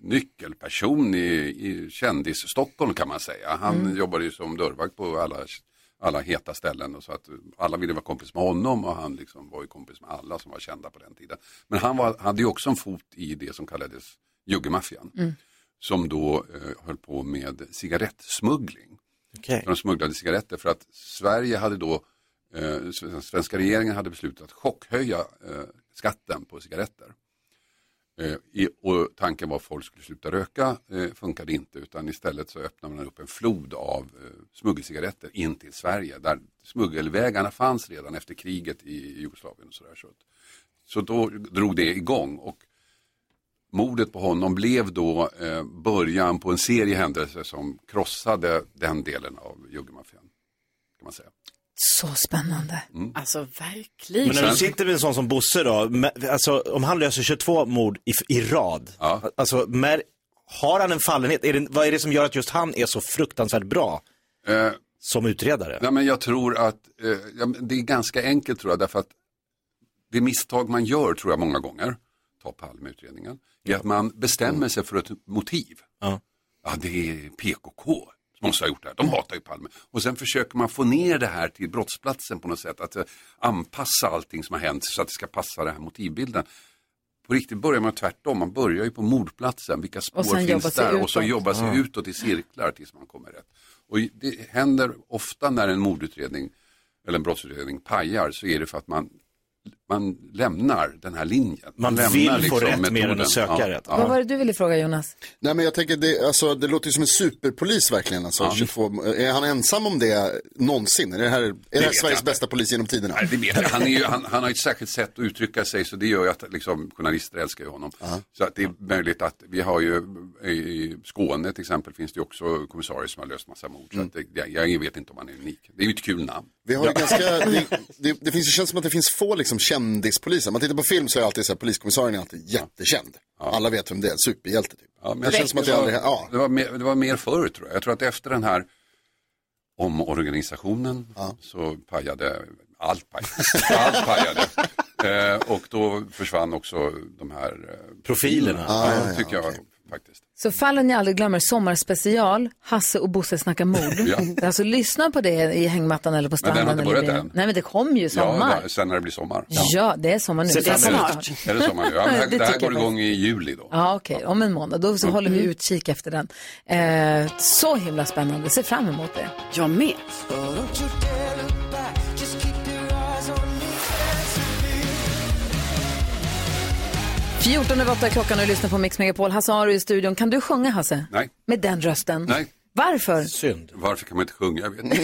Speaker 15: nyckelperson i, i kändis-Stockholm kan man säga. Han
Speaker 16: Mm.
Speaker 15: jobbade ju som dörrvakt på alla, alla heta ställen och så att alla ville vara kompis med honom och han liksom var ju kompis med alla som var kända på den tiden. Men han var, hade ju också en fot i det som kallades juggemaffian
Speaker 10: Mm.
Speaker 15: som då eh, höll på med cigarettsmuggling. när de smugglade cigaretter för att Sverige hade då, eh, s- svenska regeringen hade beslutat att chockhöja eh, skatten på cigaretter. Eh, i, och tanken var att folk skulle sluta röka, eh, funkade inte utan istället så öppnade man upp en flod av eh, smuggelcigaretter in till Sverige där smuggelvägarna fanns redan efter kriget i Jugoslavien. Och så, där. Så, att- så då drog det igång och mordet på honom blev då eh, början på en serie händelser som krossade den delen av juggemaffian. Kan man säga.
Speaker 1: Så spännande.
Speaker 15: Mm.
Speaker 6: Alltså verkligen.
Speaker 5: Men när du sitter med en sån som Bosse då, mä- alltså, om han löser 22 mord i, i rad, alltså, mär, har han en fallenhet? Är det, vad är det som gör att just han är så fruktansvärt bra Eh. som utredare?
Speaker 15: Nej, men jag tror att eh, ja, men det är ganska enkelt tror jag därför att det misstag man gör tror jag många gånger, ta Palmeutredningen, är att man bestämmer sig för ett motiv.
Speaker 5: Ja.
Speaker 15: det är PKK som måste ha gjort det här, de hatar ju Palme. Och sen försöker man få ner det här till brottsplatsen på något sätt, att eh, anpassa allting som har hänt så att det ska passa den här motivbilden. På riktigt börjar man tvärtom, man börjar ju på mordplatsen, vilka spår
Speaker 10: sen jobbar
Speaker 15: finns
Speaker 10: sig
Speaker 15: där och så
Speaker 10: utåt.
Speaker 15: jobbar sig
Speaker 10: Ja.
Speaker 15: utåt i cirklar tills man kommer rätt. Och det händer ofta när en mordutredning eller en brottsutredning pajar så är det för att man, man lämnar den här linjen.
Speaker 5: Man
Speaker 15: lämnar liksom
Speaker 5: vill få rätt mer än
Speaker 15: metoden.
Speaker 5: att söka
Speaker 15: Ja,
Speaker 5: rätt.
Speaker 15: ja.
Speaker 1: Vad var det du ville fråga Jonas?
Speaker 4: Nej men jag tänker, det, alltså, det låter ju som en superpolis verkligen. Alltså, 22, är han ensam om det någonsin? Är det här, är det här
Speaker 15: vet jag
Speaker 4: Sveriges
Speaker 15: inte.
Speaker 4: bästa polis genom tiderna?
Speaker 15: Nej, det vet jag. Han, är ju, han, han har ju ett särskilt sätt att uttrycka sig så det gör ju att liksom, journalister älskar ju honom. Så att det är möjligt att vi har ju i- i Skåne till exempel finns det ju också kommissarier som har löst massa mord.
Speaker 5: Mm.
Speaker 15: Så att det, jag, jag vet inte om han är unik. Det är ju ett kul namn.
Speaker 4: Vi har ju
Speaker 15: Ja.
Speaker 4: ganska, det, det, det finns, det känns som att det finns få liksom, kändispoliser. Om man tittar på film så är alltid så här, poliskommissarien är alltid jättekänd. Alla vet vem det är, superhjälte typ.
Speaker 15: Ja, men
Speaker 4: det känns som att det aldrig, ja.
Speaker 15: det, var mer, det var mer förr tror jag. Jag tror att efter den här omorganisationen så pajade allt pajade. allt pajade. eh, och då försvann också de här eh,
Speaker 5: Profilerna.
Speaker 15: Ja,
Speaker 5: Ah, ja,
Speaker 15: tycker jag faktiskt.
Speaker 1: Så fallen jag aldrig glömmer, sommarspecial, Hasse och Bosse snackar mord.
Speaker 15: Ja.
Speaker 1: Alltså lyssna på det i hängmattan eller på
Speaker 15: Men den
Speaker 1: stranden.
Speaker 15: har inte
Speaker 1: eller
Speaker 15: börjat än.
Speaker 1: vid- Nej men det kommer ju sommar.
Speaker 15: Ja, där- sen när det blir sommar.
Speaker 1: Ja, det är sommar nu.
Speaker 15: Ser
Speaker 1: Det är
Speaker 15: fram emot.
Speaker 1: snart.
Speaker 15: Är det sommar nu? Ja, men det här,
Speaker 1: Det
Speaker 15: det här
Speaker 1: tycker
Speaker 15: går
Speaker 1: jag
Speaker 15: igång i juli då.
Speaker 1: Ja, okej. Om en månad. Då så
Speaker 15: Mm.
Speaker 1: håller vi utkik efter den. Eh, så himla spännande. Ser fram emot det.
Speaker 6: Jag med.
Speaker 1: Fjorton över åtta är klockan och lyssnar på Mix Megapol. Hasse Aro i studion. Kan du sjunga, Hasse?
Speaker 15: Nej.
Speaker 1: Med den rösten?
Speaker 15: Nej.
Speaker 1: Varför?
Speaker 5: Synd.
Speaker 15: Varför kan man inte sjunga? Jag vet inte.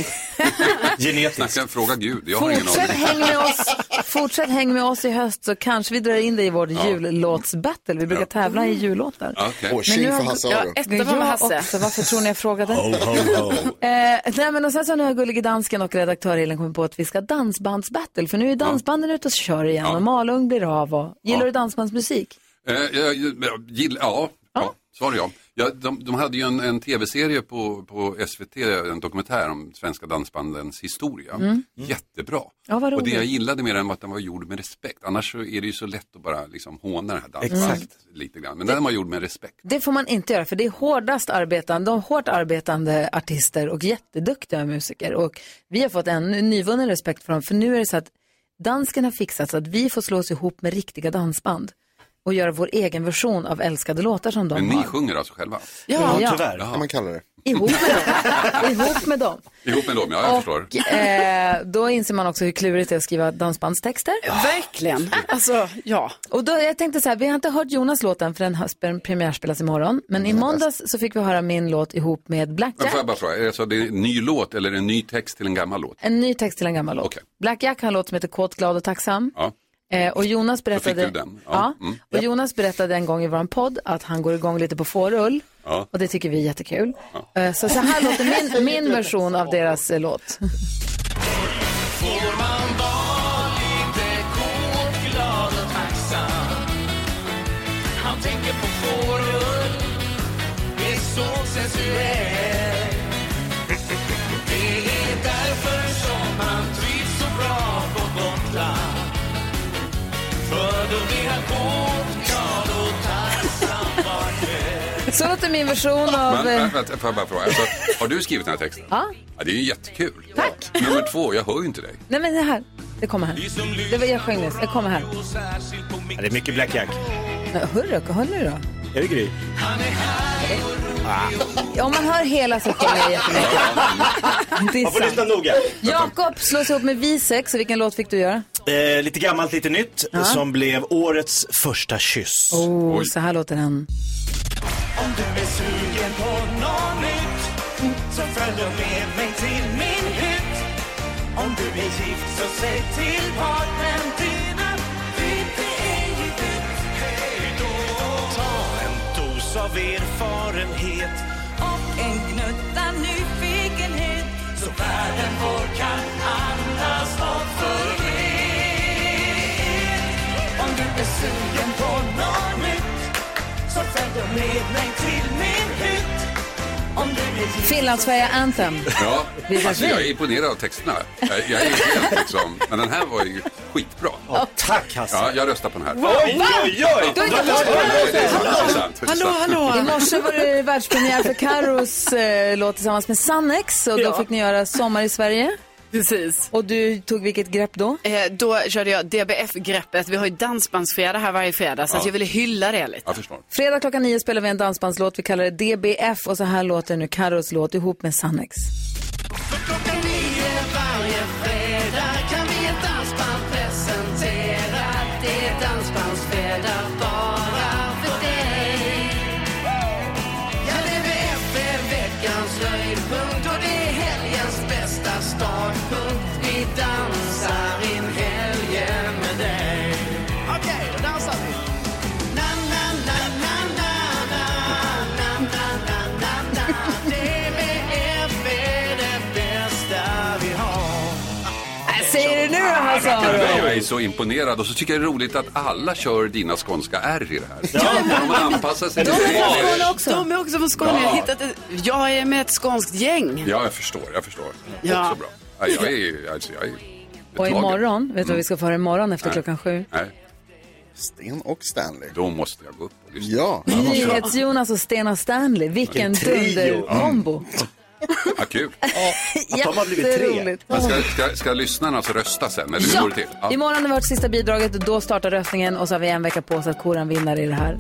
Speaker 5: Genetiskt.
Speaker 15: Snacka, fråga Gud. Jag har ingen
Speaker 1: Fortsätt
Speaker 15: aning.
Speaker 1: häng, med oss, fortsätt häng med oss i höst så kanske vi drar in dig i vår
Speaker 15: Ja.
Speaker 1: jullåtsbattle. Vi brukar tävla i jullåtar.
Speaker 15: Ja, okej. Åh, tjing
Speaker 1: nu
Speaker 15: för
Speaker 1: har-
Speaker 15: Hasse Aro. Ja,
Speaker 6: etta var med
Speaker 1: Jag
Speaker 6: Hasse.
Speaker 1: Också. Varför tror ni jag frågade?
Speaker 5: Ho, ho, ho.
Speaker 1: Eh, nej, men och sen så har nu har Gullige Dansken och redaktör Elin kommit på att vi ska ha dansbandsbattle. För nu är dansbanden ute och kör igen och Malung blir av. Och... Gillar
Speaker 15: Ja.
Speaker 1: du dansbandsmusik?
Speaker 15: Eh, jag- jag- jag gill- ja, ja, svar ja. ja de, de hade ju en, en tv-serie på, på SVT, en dokumentär om svenska dansbandens historia.
Speaker 1: Mm.
Speaker 15: Jättebra.
Speaker 1: Ja, vad
Speaker 15: och det jag
Speaker 1: roligt.
Speaker 15: gillade med den var att den var gjord med respekt. Annars så är det ju så lätt att bara liksom håna den här dansbandet
Speaker 1: Exakt.
Speaker 15: lite grann. Men den var gjord med respekt.
Speaker 1: Det får man inte göra för det är hårdast arbetande, de hårt arbetande artister och jätteduktiga musiker. Och vi har fått en nyvunnen respekt för dem för nu är det så att dansken har fixat så att vi får slås ihop med riktiga dansband och göra vår egen version av älskade låtar som de
Speaker 15: Men ni
Speaker 1: har.
Speaker 15: sjunger alltså själva?
Speaker 1: Ja, Ja, tyvärr.
Speaker 15: Kan man kalla det.
Speaker 1: Ihop med dem. Ihop med dem.
Speaker 15: Ihop med dem, ja jag förstår.
Speaker 1: Och eh, då inser man också hur klurigt det är att skriva dansbandstexter.
Speaker 6: Verkligen. Alltså, ja.
Speaker 1: Och då, jag tänkte så här, vi har inte hört Jonas låten för den har sp- premiärspelas imorgon. Men
Speaker 15: Mm,
Speaker 1: i måndags så fick vi höra min låt ihop med
Speaker 15: Men
Speaker 1: Blackjack.
Speaker 15: får jag bara fråga, är det, så det är en ny låt eller en ny text till en gammal låt?
Speaker 1: En ny text till en gammal låt.
Speaker 15: Okej.
Speaker 1: Blackjack har en låt som heter Kåt, glad och tacksam.
Speaker 15: Ja.
Speaker 1: Eh, och Jonas
Speaker 15: Då fick
Speaker 1: berättade,
Speaker 15: du den.
Speaker 1: Ja.
Speaker 15: Mm.
Speaker 1: och Jonas berättade en gång i vår podd att han går igång lite på fårull.
Speaker 15: Ja.
Speaker 1: Och det tycker vi är jättekul. Eh, så så här låter min, min version av deras eh, låt.
Speaker 10: Får man vara lite kåt, glad och tacksam Han tänker på fårull, det är så sensuellt Det är därför som han trivs så bra på Gotland För då blir han kåt, glad och tacksam var kväll
Speaker 1: Så låter min version av...
Speaker 15: Men,
Speaker 1: eh,
Speaker 15: vänta, vänta, får jag bara fråga, alltså, har du skrivit den här texten?
Speaker 1: Ja.
Speaker 15: Ja, det är ju jättekul. Tack. Nummer två, jag hör ju inte dig.
Speaker 1: Nej men det här, det kommer här. Det var, jag sjöng nyss, det kommer här.
Speaker 5: Ja, Det är mycket Blackjack.
Speaker 1: Men Hörru, hör nu då.
Speaker 5: Är det Gry?
Speaker 10: Han är här och
Speaker 1: Om man hör hela så sjunger jag jättemycket. Det är
Speaker 5: Man får
Speaker 1: sant.
Speaker 5: lyssna noga.
Speaker 1: Jakob slås ihop med Visex, och vilken låt fick du göra?
Speaker 5: Eh, lite gammalt, lite nytt,
Speaker 1: Ja.
Speaker 5: som blev årets första kyss.
Speaker 1: Oh, så här låter den.
Speaker 10: Om du är sugen på något nytt så följ då med mig till min hytt. Om du är gift så säg till partnern din att vi inte är i ditt. Hej då! Ta en dos av erfarenhet och en gnutta nyfikenhet så världen vår kan andas och för er. Om du är sugen på något nytt så följ då med mig till min hytt Om du är
Speaker 1: Finlandsfärja Anthem.
Speaker 15: Ja,
Speaker 1: Vilka
Speaker 15: alltså jag
Speaker 1: fint.
Speaker 15: är imponerad av texterna. Jag, jag är helt liksom, men den här var ju skitbra.
Speaker 5: tack Hasse.
Speaker 15: Ja, jag röstar på den här.
Speaker 10: Wow, Oj, va? oj, oj!
Speaker 1: Du har inte hört
Speaker 15: Nej, det är sant, det är
Speaker 1: den?
Speaker 15: sant. Det är sant.
Speaker 1: I morse var det världspremiär för Carros eh, låt tillsammans med Sannex och då
Speaker 6: Ja.
Speaker 1: fick ni göra Sommar i Sverige.
Speaker 6: Precis.
Speaker 1: Och du tog vilket grepp då?
Speaker 6: Eh, då körde jag DBF-greppet. Vi har ju dansbandsfredag här varje fredag så
Speaker 1: Ja.
Speaker 6: att jag ville hylla det lite.
Speaker 15: Jag förstår.
Speaker 1: Fredag klockan nio spelar vi en dansbandslåt, vi kallar det DBF och så här låter nu Carros låt ihop med Sannex.
Speaker 10: Klockan nio varje fredag kan vi ett dansband presentera. Det är dansbandsfredag bara för dig. Ja, DBF är veckans höjdpunkt och det är helgens bästa startpunkt. Vi dansar in helgen med dig. Okej, då dansar vi. Na, na, na, na, na, na, na, na, na, na, na. DBF är det bästa vi har.
Speaker 1: Äh, Säger du nu då
Speaker 10: alltså.
Speaker 1: Hasse
Speaker 15: Men Jag
Speaker 1: Aro?
Speaker 15: är så imponerad och så tycker jag det är roligt att alla kör dina skånska R i det här. De anpassar sig till det.
Speaker 6: också. De är också från Skåne. Jag, har
Speaker 15: Ja.
Speaker 6: hittat ett, jag är med ett skånskt gäng.
Speaker 15: Ja, jag förstår, jag förstår.
Speaker 6: Ja.
Speaker 15: Också bra. Ja, Jag är ju, alltså jag är ju
Speaker 1: Och
Speaker 15: betagen.
Speaker 1: imorgon, vet du vad vi ska få höra imorgon efter
Speaker 15: Nej.
Speaker 1: klockan sju?
Speaker 15: Nej. Sten och Stanley. Då måste jag gå upp och lyssna.
Speaker 4: Ja.
Speaker 1: NyhetsJonas och Stena Stanley, vilken dunderkombo.
Speaker 15: Mm. Ja, kul.
Speaker 1: Att de har blivit tre. Jätteroligt.
Speaker 15: Men ska, ska, ska lyssnarna alltså rösta sen? Eller hur går det till? Ja.
Speaker 1: Imorgon är vårt sista bidraget och då startar röstningen och så har vi en vecka på oss att koran vinner i det här.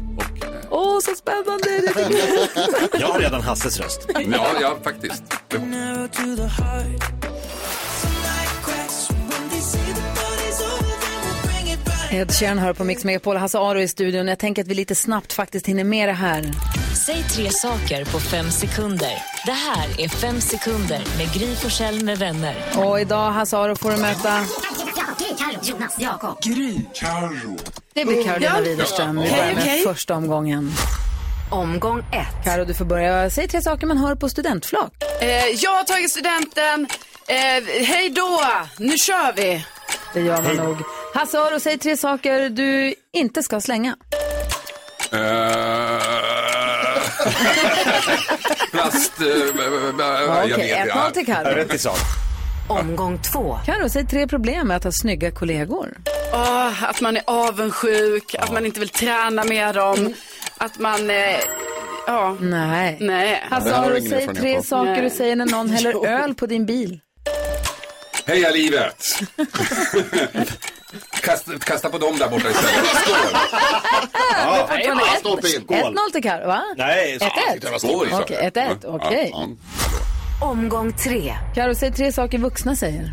Speaker 1: Åh, så spännande! Det tycker jag.
Speaker 5: Jag har redan Hasses röst.
Speaker 15: Ja, ja faktiskt.
Speaker 10: Narrow to the heart. Somebody cracks when they see the party's over, then we'll bring it back.
Speaker 1: Ed Sheeran hör på Mix Megapol, Hasse Aro i studion. Jag tänker att vi lite snabbt faktiskt hinner med det här.
Speaker 8: Säg tre saker på fem sekunder. Det här är Fem sekunder med Gry Forssell med vänner.
Speaker 1: Och idag, Hasse Aro, får du möta...
Speaker 8: Jonas, Jakob.
Speaker 10: Gry, Carro.
Speaker 1: Det blir Karolina
Speaker 8: Ja.
Speaker 1: Widerström. Vi
Speaker 8: Okej,
Speaker 1: börjar med
Speaker 8: okej.
Speaker 1: första omgången. Omgång ett. Karo, du får börja. Säg tre saker man hör på studentflak.
Speaker 6: Eh, jag har tagit studenten. Eh, hej då! Nu kör vi!
Speaker 1: Det gör man nog. Hasse Aro, säg tre saker du inte ska slänga.
Speaker 15: Eh, Plast... eh, Jag
Speaker 1: okej,
Speaker 15: vet
Speaker 1: ett
Speaker 15: ja.
Speaker 1: noll till Karo. Ja, rätt i
Speaker 15: sak.
Speaker 1: Omgång två. Karo, säg tre problem med att ha snygga kollegor.
Speaker 6: Åh, att man är avundsjuk, att man inte vill träna med dem, att man... Eh, ja.
Speaker 1: Mm. Nej.
Speaker 6: Nej.
Speaker 1: Hasse Aro, säg tre saker du säger när någon häller öl på din bil.
Speaker 15: Heja livet! kasta, kasta på dem där borta istället.
Speaker 1: Ja,
Speaker 15: nej, ja, stolpe in. Skål.
Speaker 1: 1-0 till Karo, va?
Speaker 15: Nej, så- Ja, det
Speaker 1: 1-1.
Speaker 15: var skål, sa jag.
Speaker 1: Okej, 1-1.
Speaker 15: Ja,
Speaker 1: Okej.
Speaker 15: ja.
Speaker 1: Omgång tre. Karo, säg tre saker vuxna säger.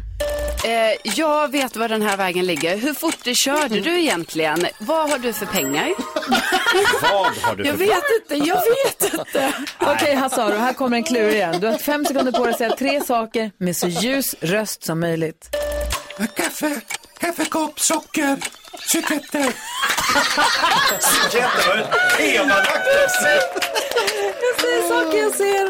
Speaker 6: Eh, jag vet var den här vägen ligger. Hur fort det körde du egentligen? Vad har du för pengar?
Speaker 5: Vad har du
Speaker 6: Jag
Speaker 5: för
Speaker 6: vet inte, jag vet inte.
Speaker 1: Okej, Hasse Aro, här kommer en klurig igen. Du har fem sekunder på dig att säga tre saker med så ljus röst som möjligt.
Speaker 10: Kaffe, kaffekopp, socker, suketter.
Speaker 5: Suketter var ett temalagt
Speaker 1: Jag säger saker jag ser.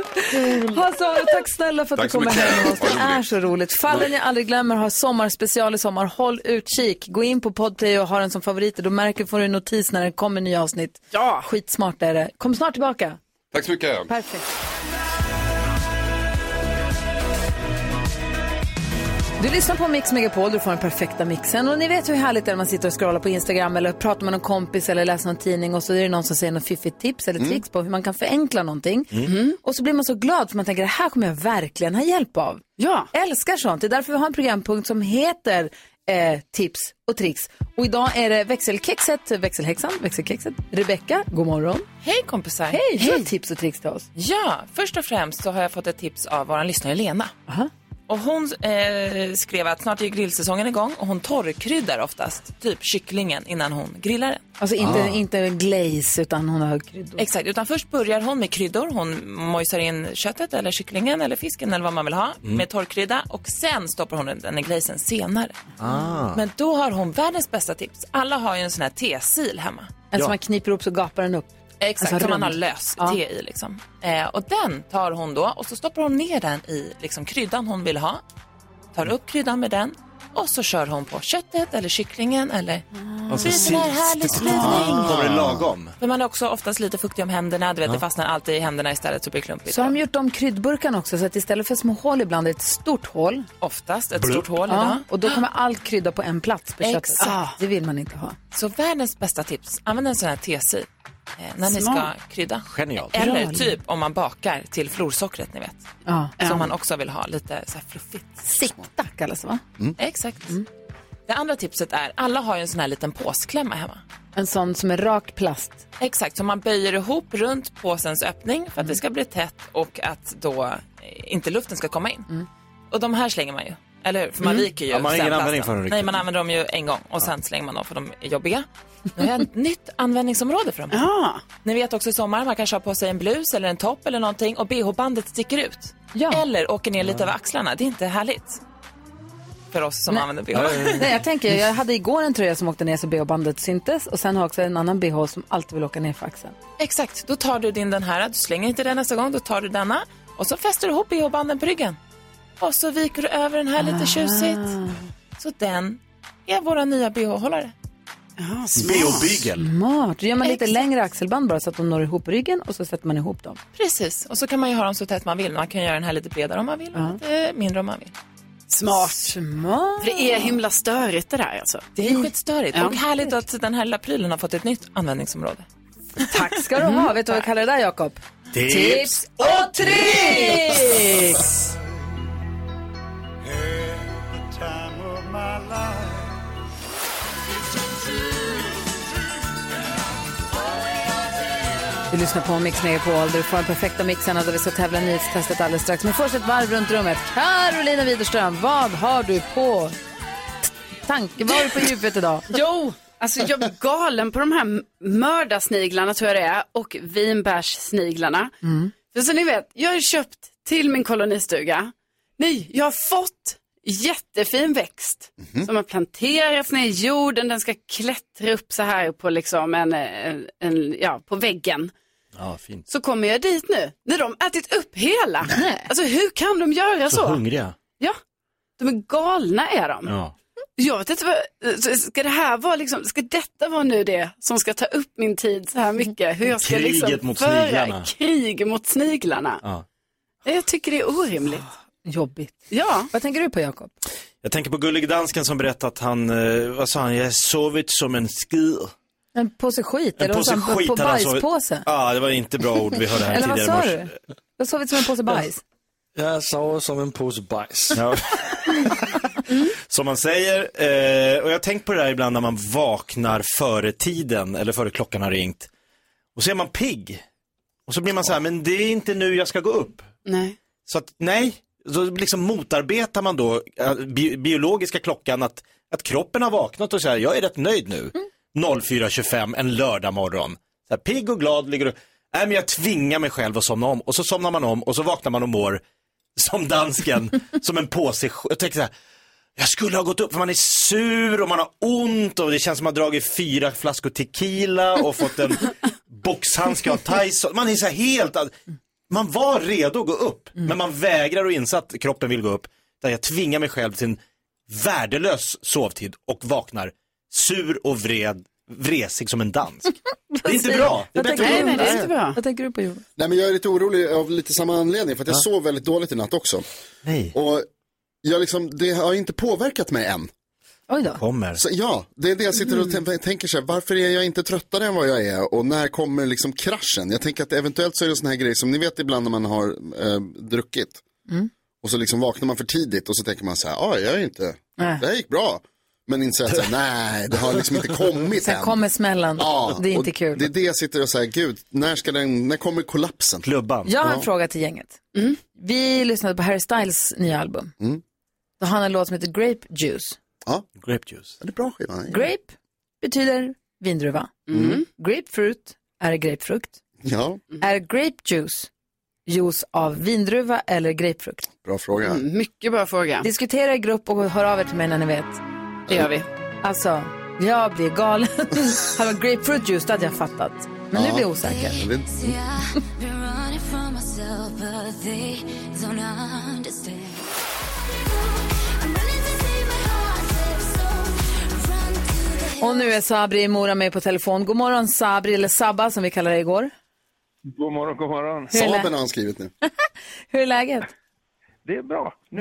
Speaker 1: Hasse Aro, tack snälla för att
Speaker 10: Tack
Speaker 1: du
Speaker 10: så
Speaker 1: kommer
Speaker 10: mycket.
Speaker 1: hem med oss.
Speaker 10: Vad
Speaker 1: Det är så roligt. Fallen jag aldrig glömmer har sommarspecial i sommar. Håll utkik. Gå in på Podplay och ha den som favorit. Då märker får du en notis när det kommer nya avsnitt. Ja. Skitsmart är det. Kom snart tillbaka.
Speaker 15: Tack så mycket.
Speaker 1: Perfekt. Du lyssnar på Mix Megapol, du får den perfekta mixen. Och ni vet hur härligt det är när man sitter och scrollar på Instagram eller pratar med någon kompis eller läser någon tidning och så är det någon som säger något fiffigt tips eller
Speaker 10: Mm.
Speaker 1: tricks på hur man kan förenkla någonting.
Speaker 6: Mm.
Speaker 1: Och så blir man så glad för man tänker det här kommer jag verkligen ha hjälp av. Ja. Älskar sånt. Det är därför vi har en programpunkt som heter eh, tips och tricks. Och idag är det växelkexet, växelhäxan, växelkexet, Rebecka, god morgon.
Speaker 16: Hej kompisar!
Speaker 1: Hej, du har tips och tricks till oss.
Speaker 16: Ja, först och främst så har jag fått ett tips av vår lyssnare Lena. Och hon eh, skrev att snart är ju grillsäsongen igång och hon torrkryddar oftast, typ kycklingen, innan hon grillar den.
Speaker 1: Alltså inte,
Speaker 16: Ah.
Speaker 1: inte glaze utan hon har kryddor.
Speaker 16: Exakt, utan först börjar hon med kryddor. Hon mojsar in köttet eller kycklingen eller fisken eller vad man vill ha
Speaker 10: Mm.
Speaker 16: med torrkrydda och sen stoppar hon den i glazen senare.
Speaker 10: Ah.
Speaker 16: Men då har hon världens bästa tips. Alla har ju en sån här tesil hemma.
Speaker 1: En som Alltså man kniper ihop så gapar den upp.
Speaker 16: Exakt,
Speaker 1: Alltså
Speaker 16: som man har
Speaker 1: rund.
Speaker 16: lös
Speaker 1: Ja.
Speaker 16: te i. Liksom. Eh, och den tar hon då och så stoppar hon ner den i liksom, kryddan hon vill ha. Tar upp kryddan med den och så kör hon på köttet eller kycklingen eller...
Speaker 5: Ah. Och så
Speaker 16: Det är en sån här
Speaker 5: sist.
Speaker 16: härlig
Speaker 5: Ah. Kommer det
Speaker 16: slutning.
Speaker 5: lagom?
Speaker 16: För man är också oftast lite fuktig om händerna, du vet
Speaker 5: Ja.
Speaker 16: det fastnar alltid i händerna istället så blir det klumpigt.
Speaker 1: Så har de gjort om kryddburkarna också så att istället för små hål ibland är det ett stort hål.
Speaker 16: Oftast ett stort hål
Speaker 1: Ja,
Speaker 16: idag.
Speaker 1: och då kommer all krydda på en plats på köttet.
Speaker 16: Exakt.
Speaker 1: Ah, det vill man inte ha.
Speaker 16: Så världens bästa tips, använd en sån här tesil eh, när ni ska
Speaker 1: Smart.
Speaker 16: krydda.
Speaker 5: Genialt.
Speaker 16: Eller
Speaker 1: Bra,
Speaker 16: typ om man bakar till florsockret ni vet.
Speaker 1: Ja.
Speaker 16: Som man också vill ha lite så här fluffigt.
Speaker 1: Sikta kallas det va?
Speaker 5: Mm.
Speaker 1: Mm.
Speaker 16: Exakt. Det andra tipset är, alla har ju en sån här liten påsklämma hemma.
Speaker 1: En sån som är rak plast.
Speaker 16: Exakt, så man böjer ihop runt påsens öppning för att
Speaker 1: Mm.
Speaker 16: det ska bli tätt och att då eh, inte luften ska komma in.
Speaker 1: Mm.
Speaker 16: Och de här slänger man ju, eller hur? För man
Speaker 5: Mm.
Speaker 16: viker ju
Speaker 5: Ja, man har
Speaker 16: sen
Speaker 5: ingen användning
Speaker 16: plasten.
Speaker 5: för dem riktigt.
Speaker 16: Nej, man använder dem ju en gång och sen slänger man dem för de är jobbiga. Nu har jag ett nytt användningsområde för dem. Ja. Ni vet också i sommar, man kanske har på sig en blus eller en topp eller någonting och bh-bandet sticker ut. Eller åker ner lite över axlarna, det är inte härligt. För oss som använder bh.
Speaker 1: Nej, jag tänker, jag hade igår en tröja som åkte ner så bh-bandet syntes och sen har jag också en annan bh som alltid vill åka ner för axeln.
Speaker 16: Exakt, då tar du din den här, du slänger inte den nästa gång, då tar du denna och så fäster du ihop bh-banden på ryggen. Och så viker du över den här
Speaker 6: Ah.
Speaker 16: lite tjusigt. Så den är våra nya bh-hållare.
Speaker 5: Bh-bygel.
Speaker 1: Smart, då gör man lite längre axelband bara så att de når ihop ryggen och så sätter man ihop dem.
Speaker 16: Precis, och så kan man ju ha dem så tätt man vill. Man kan göra den här lite bredare om man vill,
Speaker 1: Ja.
Speaker 16: lite mindre om man vill.
Speaker 6: Smart.
Speaker 1: Smart.
Speaker 6: Det är himla störigt det där alltså.
Speaker 16: Det är skitstörigt.
Speaker 6: Ja.
Speaker 16: Och härligt att den här lilla prylen har fått ett nytt användningsområde.
Speaker 1: Tack ska du
Speaker 6: Mm.
Speaker 1: ha, vet du vad jag kallar det där Jakob?
Speaker 16: Tips
Speaker 1: och
Speaker 10: tricks!
Speaker 1: Du lyssnar på Mix Megapol, där du får den perfekta mixen och där vi ska tävla i nyhetstestet alldeles strax. Men först ett varv runt rummet. Carolina Widerström, vad har du på tanke? Vad har du på djupet idag?
Speaker 6: Jo, alltså jag är galen på de här m- mördarsniglarna tror jag det är och vinbärssniglarna.
Speaker 10: Mm.
Speaker 6: För så ni vet, jag har ju köpt till min kolonistuga. Nej, jag har fått jättefin växt som har planterats ner i jorden. Den ska klättra upp så här på liksom en, eh, en, en ja, på väggen.
Speaker 5: Ja, fint.
Speaker 6: Så kommer jag dit nu, när de ätit upp hela. Alltså hur kan de göra så?
Speaker 5: Så hungriga.
Speaker 6: Ja, de är galna är de.
Speaker 5: Ja.
Speaker 6: Jag vet inte vad, så ska det här vara liksom, ska detta vara nu det som ska ta upp min tid så här mycket? Hur jag ska
Speaker 5: Kriget
Speaker 6: liksom
Speaker 5: mot
Speaker 6: föra
Speaker 5: sniglarna.
Speaker 6: krig mot sniglarna.
Speaker 5: Ja.
Speaker 6: Jag tycker det är orimligt.
Speaker 1: Jobbigt.
Speaker 6: Ja.
Speaker 1: Vad tänker du på Jakob?
Speaker 5: Jag tänker på gullig dansken som berättade att han, eh, vad sa han, jag har sovit som en skid.
Speaker 1: En påse skit?
Speaker 5: En
Speaker 1: eller vad sa
Speaker 5: påse
Speaker 1: han?
Speaker 5: skit
Speaker 1: på
Speaker 5: hade han sovit-
Speaker 1: bajspåse?
Speaker 5: Ja, det var inte bra ord vi hörde här
Speaker 1: Eller vad
Speaker 5: tidigare
Speaker 1: sa
Speaker 5: i
Speaker 1: du?
Speaker 5: morse.
Speaker 1: Du har sovit som en påse bajs?
Speaker 9: Jag sover som en påse bajs.
Speaker 5: Som man säger, eh, och jag har tänkt på det där ibland när man vaknar före tiden eller före klockan har ringt. Och så är man pigg. Och så blir man så här, men det är inte nu jag ska gå upp.
Speaker 6: Nej.
Speaker 5: Så att, nej, så liksom motarbetar man då eh, bi biologiska klockan att, att kroppen har vaknat och säger, jag är rätt nöjd nu. 04.25 en lördag morgon. Så här, pigg och glad ligger du. Nej men jag tvingar mig själv att somna om och så somnar man om och så vaknar man och mår som dansken, som en påse. sk- Jag tänker så här, jag skulle ha gått upp för man är sur och man har ont och det känns som man har dragit fyra flaskor tequila och fått en boxhandske av Tyson. Man är så här helt, man var redo att gå upp men man vägrar att inse att kroppen vill gå upp. Där jag tvingar mig själv till en värdelös sovtid och vaknar sur och vred, vresig som en dansk. Det är inte bra. Det är bättre att gå upp.
Speaker 6: bra.
Speaker 1: Vad tänker du på Jonas?
Speaker 4: Nej men jag är lite orolig av lite samma anledning för att jag sov väldigt dåligt i natt också.
Speaker 5: Nej.
Speaker 4: Och jag liksom, det har inte påverkat mig än.
Speaker 1: Oj då.
Speaker 5: Kommer.
Speaker 4: Så, ja, det är det jag sitter och tän- tänker så här, varför är jag inte tröttare än vad jag är och när kommer liksom kraschen? Jag tänker att eventuellt så är det sån här grej som ni vet ibland när man har eh, druckit
Speaker 1: Mm.
Speaker 4: och så liksom vaknar man för tidigt och så tänker man så här, ja jag är inte,
Speaker 1: Nej.
Speaker 4: det här gick bra. Men inte så att säga, nej, det har liksom inte kommit
Speaker 1: Sen
Speaker 4: än.
Speaker 1: kommer smällen.
Speaker 4: Ja,
Speaker 1: det är inte
Speaker 4: och
Speaker 1: kul.
Speaker 4: Det är det jag sitter och säger, gud, när, ska den, när kommer kollapsen? Klubban.
Speaker 1: Jag har en fråga till gänget.
Speaker 6: Mm.
Speaker 1: Vi lyssnade på Harry Styles nya album.
Speaker 4: Mm.
Speaker 1: Då har han en låt som heter Grape Juice.
Speaker 4: Ja.
Speaker 5: Grape juice.
Speaker 4: Det är bra skiva.
Speaker 1: Grape betyder vindruva.
Speaker 4: Mm.
Speaker 1: Grapefruit är grapefrukt.
Speaker 4: Ja,
Speaker 6: Mm.
Speaker 1: Är grape juice juice av vindruva eller grapefrukt?
Speaker 4: bra fråga.
Speaker 1: Mm,
Speaker 6: Mm, Mycket bra fråga.
Speaker 1: Diskutera i grupp och hör av er till mig när ni vet.
Speaker 6: Det gör vi.
Speaker 1: Alltså, jag blir galen. Hade det varit grapefruit juice, det hade jag fattat. Men nu
Speaker 10: Ja.
Speaker 1: blir jag osäker. Och nu är Sabri i Mora med på telefon. God morgon Sabri, eller Sabba som vi kallade det igår.
Speaker 17: God morgon, god morgon.
Speaker 1: Hur är Saben lä- har
Speaker 4: han skrivit nu.
Speaker 1: Hur är läget?
Speaker 17: Det är bra. Nu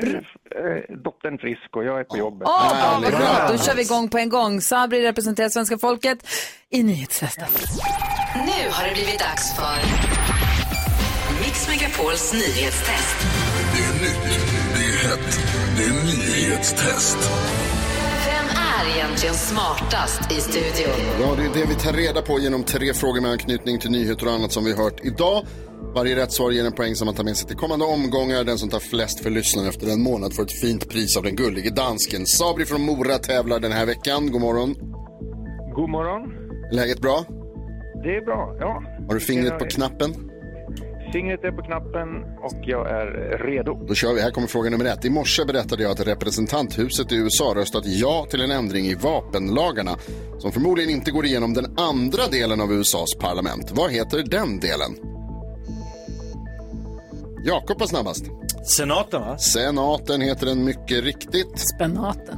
Speaker 17: är dottern frisk och jag är på jobbet.
Speaker 1: Åh, vad bra! Då kör vi igång på en gång. Sabri representerar svenska folket i nyhetstestet.
Speaker 10: Nu har det blivit dags för Mix Megapols nyhetstest. Det är nytt, det är hett, det är nyhetstest.
Speaker 18: Vem är egentligen smartast i studion?
Speaker 4: Ja, det är det vi tar reda på genom tre frågor med anknytning till nyheter och annat som vi hört idag. Varje rätt svar ger en poäng som man tar med sig till kommande omgångar. Den som tar flest för lyssnaren efter en månad får ett fint pris av den gullige dansken. Sabri från Mora tävlar den här veckan. God morgon.
Speaker 17: God morgon.
Speaker 4: Läget bra?
Speaker 17: Det är bra, ja.
Speaker 4: Har du fingret på knappen?
Speaker 17: Fingret är på knappen och jag är redo.
Speaker 4: Då kör vi. Här kommer fråga nummer ett. I morse berättade jag att representanthuset i USA röstat ja till en ändring i vapenlagarna som förmodligen inte går igenom den andra delen av USAs parlament. Vad heter den delen? Jakob var snabbast.
Speaker 5: Senaten va?
Speaker 4: Senaten heter den mycket riktigt.
Speaker 1: Spenaten.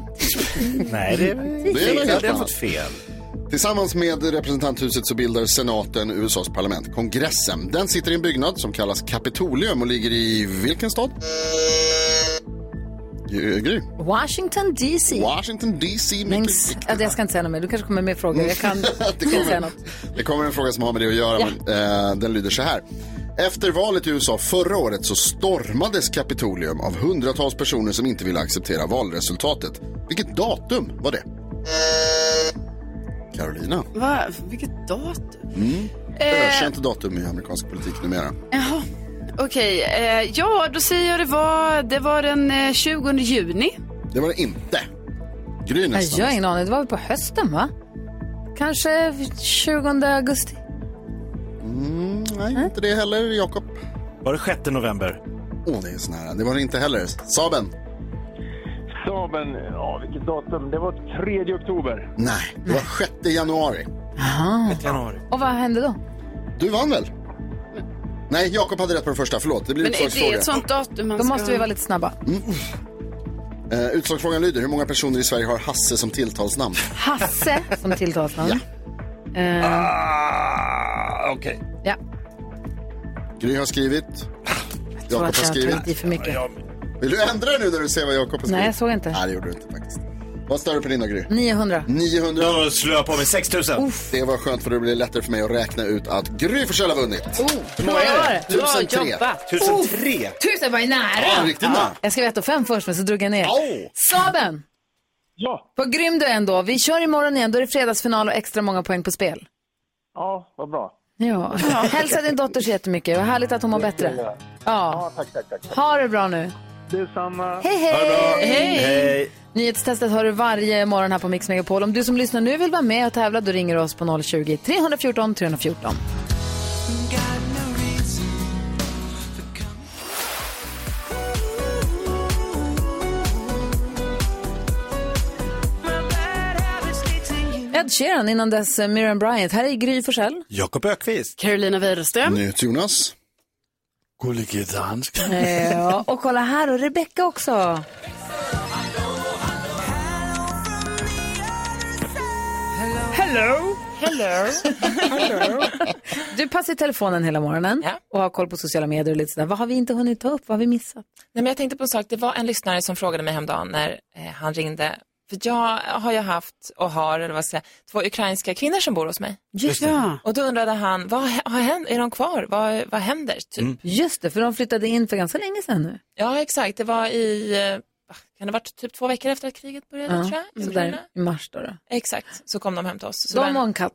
Speaker 5: Nej, det är,
Speaker 4: Det är något helt
Speaker 5: det har
Speaker 4: annat.
Speaker 5: fått fel.
Speaker 4: Tillsammans med representanthuset så bildar senaten USAs parlament, kongressen. Den sitter i en byggnad som kallas Kapitolium och ligger i vilken stad? Gry. Gry.
Speaker 1: Washington DC.
Speaker 4: Washington DC.
Speaker 1: Men, ja, det- jag ska inte säga något mer. Du kanske kommer med frågor. Jag kan inte säga något.
Speaker 4: Det kommer en fråga som har med det att göra,
Speaker 1: Ja.
Speaker 4: men eh, den lyder så här. Efter valet i USA förra året så stormades Kapitolium av hundratals personer som inte ville acceptera valresultatet. Vilket datum var det? Carolina.
Speaker 6: Va? Vilket datum?
Speaker 4: Mm.
Speaker 6: Eh.
Speaker 4: Ökänt datum i amerikansk politik numera.
Speaker 6: Jaha. Okej, eh, ja då säger jag det var, det var den eh, 20 juni.
Speaker 4: Det var det inte. Gry
Speaker 1: Nej,
Speaker 4: nästan.
Speaker 1: Jag har ingen aning. Det var väl på hösten, va? Kanske 20 augusti.
Speaker 4: Mm, nej, inte det heller, Jakob.
Speaker 5: Var det 6 november?
Speaker 4: Åh, det är så nära. Det var det inte heller. Saben.
Speaker 17: Saben, ja vilket datum. Det var 3 oktober.
Speaker 4: Nej, det var 6 januari.
Speaker 1: Aha.
Speaker 5: 6 januari.
Speaker 1: Och vad hände då?
Speaker 4: Du vann väl? Nej, Jakob hade rätt på den första. Förlåt, det blir
Speaker 6: Men är det
Speaker 4: utslagsfråga.
Speaker 6: ett sånt datum man
Speaker 1: Då
Speaker 6: ska...
Speaker 1: måste vi vara lite snabba.
Speaker 4: Eh, utslagsfrågan lyder, hur många personer i Sverige har Hasse som tilltalsnamn?
Speaker 1: Hasse som tilltalsnamn. Eh,
Speaker 4: Ah, Okej.
Speaker 1: Ja.
Speaker 4: Gry har skrivit. Jakob har
Speaker 1: att jag har
Speaker 4: skrivit.
Speaker 1: tryckt i för mycket.
Speaker 4: Vill du ändra dig nu när du ser vad Jakob har skrivit?
Speaker 1: Nej, jag såg inte.
Speaker 4: Nej, det gjorde du inte faktiskt. Vad står det på din då, Gry?
Speaker 1: 900.
Speaker 4: 900.
Speaker 5: Jag slöar på mig 6000.
Speaker 4: Det var skönt för det blev lättare för mig att räkna ut att Gry Forssell har vunnit.
Speaker 1: Hur många är det? Bra
Speaker 4: 1003.
Speaker 1: jobbat.
Speaker 4: 1003.
Speaker 1: Tusen var ju nära!
Speaker 4: Ja, riktigt nära.
Speaker 1: Jag skrev 1 fem först, men så drog jag ner. Saben!
Speaker 17: Ja.
Speaker 1: Vad grym du är ändå. Vi kör imorgon igen. Då är det fredagsfinal och extra många poäng på spel.
Speaker 17: Ja, vad bra.
Speaker 1: Ja. Hälsa din dotter så jättemycket. Vad härligt att hon mår bättre. Ja.
Speaker 17: Tack, tack, tack.
Speaker 1: Ha det bra nu.
Speaker 17: Detsamma.
Speaker 1: Hej, hej! Ha det bra. Hej.
Speaker 5: Hej.
Speaker 1: Nyhetstestet har du varje morgon här på Mix Megapol. Om du som lyssnar nu vill vara med och tävla, då ringer du oss på 020-314 314. Ed Sheeran, innan dess eh, Miriam Bryant. Här är Gry Forssell.
Speaker 5: Jakob Ökvist.
Speaker 6: Carolina Widerström.
Speaker 4: Jonas.
Speaker 9: Gullige dansk.
Speaker 1: Eh, Ja, och kolla här, och Rebecca också. Hello! Hello! Hello! Du passar i telefonen hela morgonen och har koll på sociala medier och lite sådär. Vad har vi inte hunnit ta upp? Vad har vi missat?
Speaker 16: Nej, men jag tänkte på en sak. Det var en lyssnare som frågade mig häromdagen när eh, han ringde. För jag har ju haft och har, eller vad ska jag säga, två ukrainska kvinnor som bor hos mig.
Speaker 1: Just det. Ja.
Speaker 16: Och då undrade han, vad hä- har hänt? Är de kvar? Vad, vad händer? Typ.
Speaker 1: Just det, för de flyttade in för ganska länge sedan nu.
Speaker 16: Ja, exakt. Det var i, eh, kan det ha varit typ två veckor efter att kriget började tror jag. i
Speaker 1: så där
Speaker 16: Ukraina.
Speaker 1: i mars då. då.
Speaker 16: Exakt, så kom de hem till oss. Så var
Speaker 1: De
Speaker 16: en-
Speaker 1: och en katt.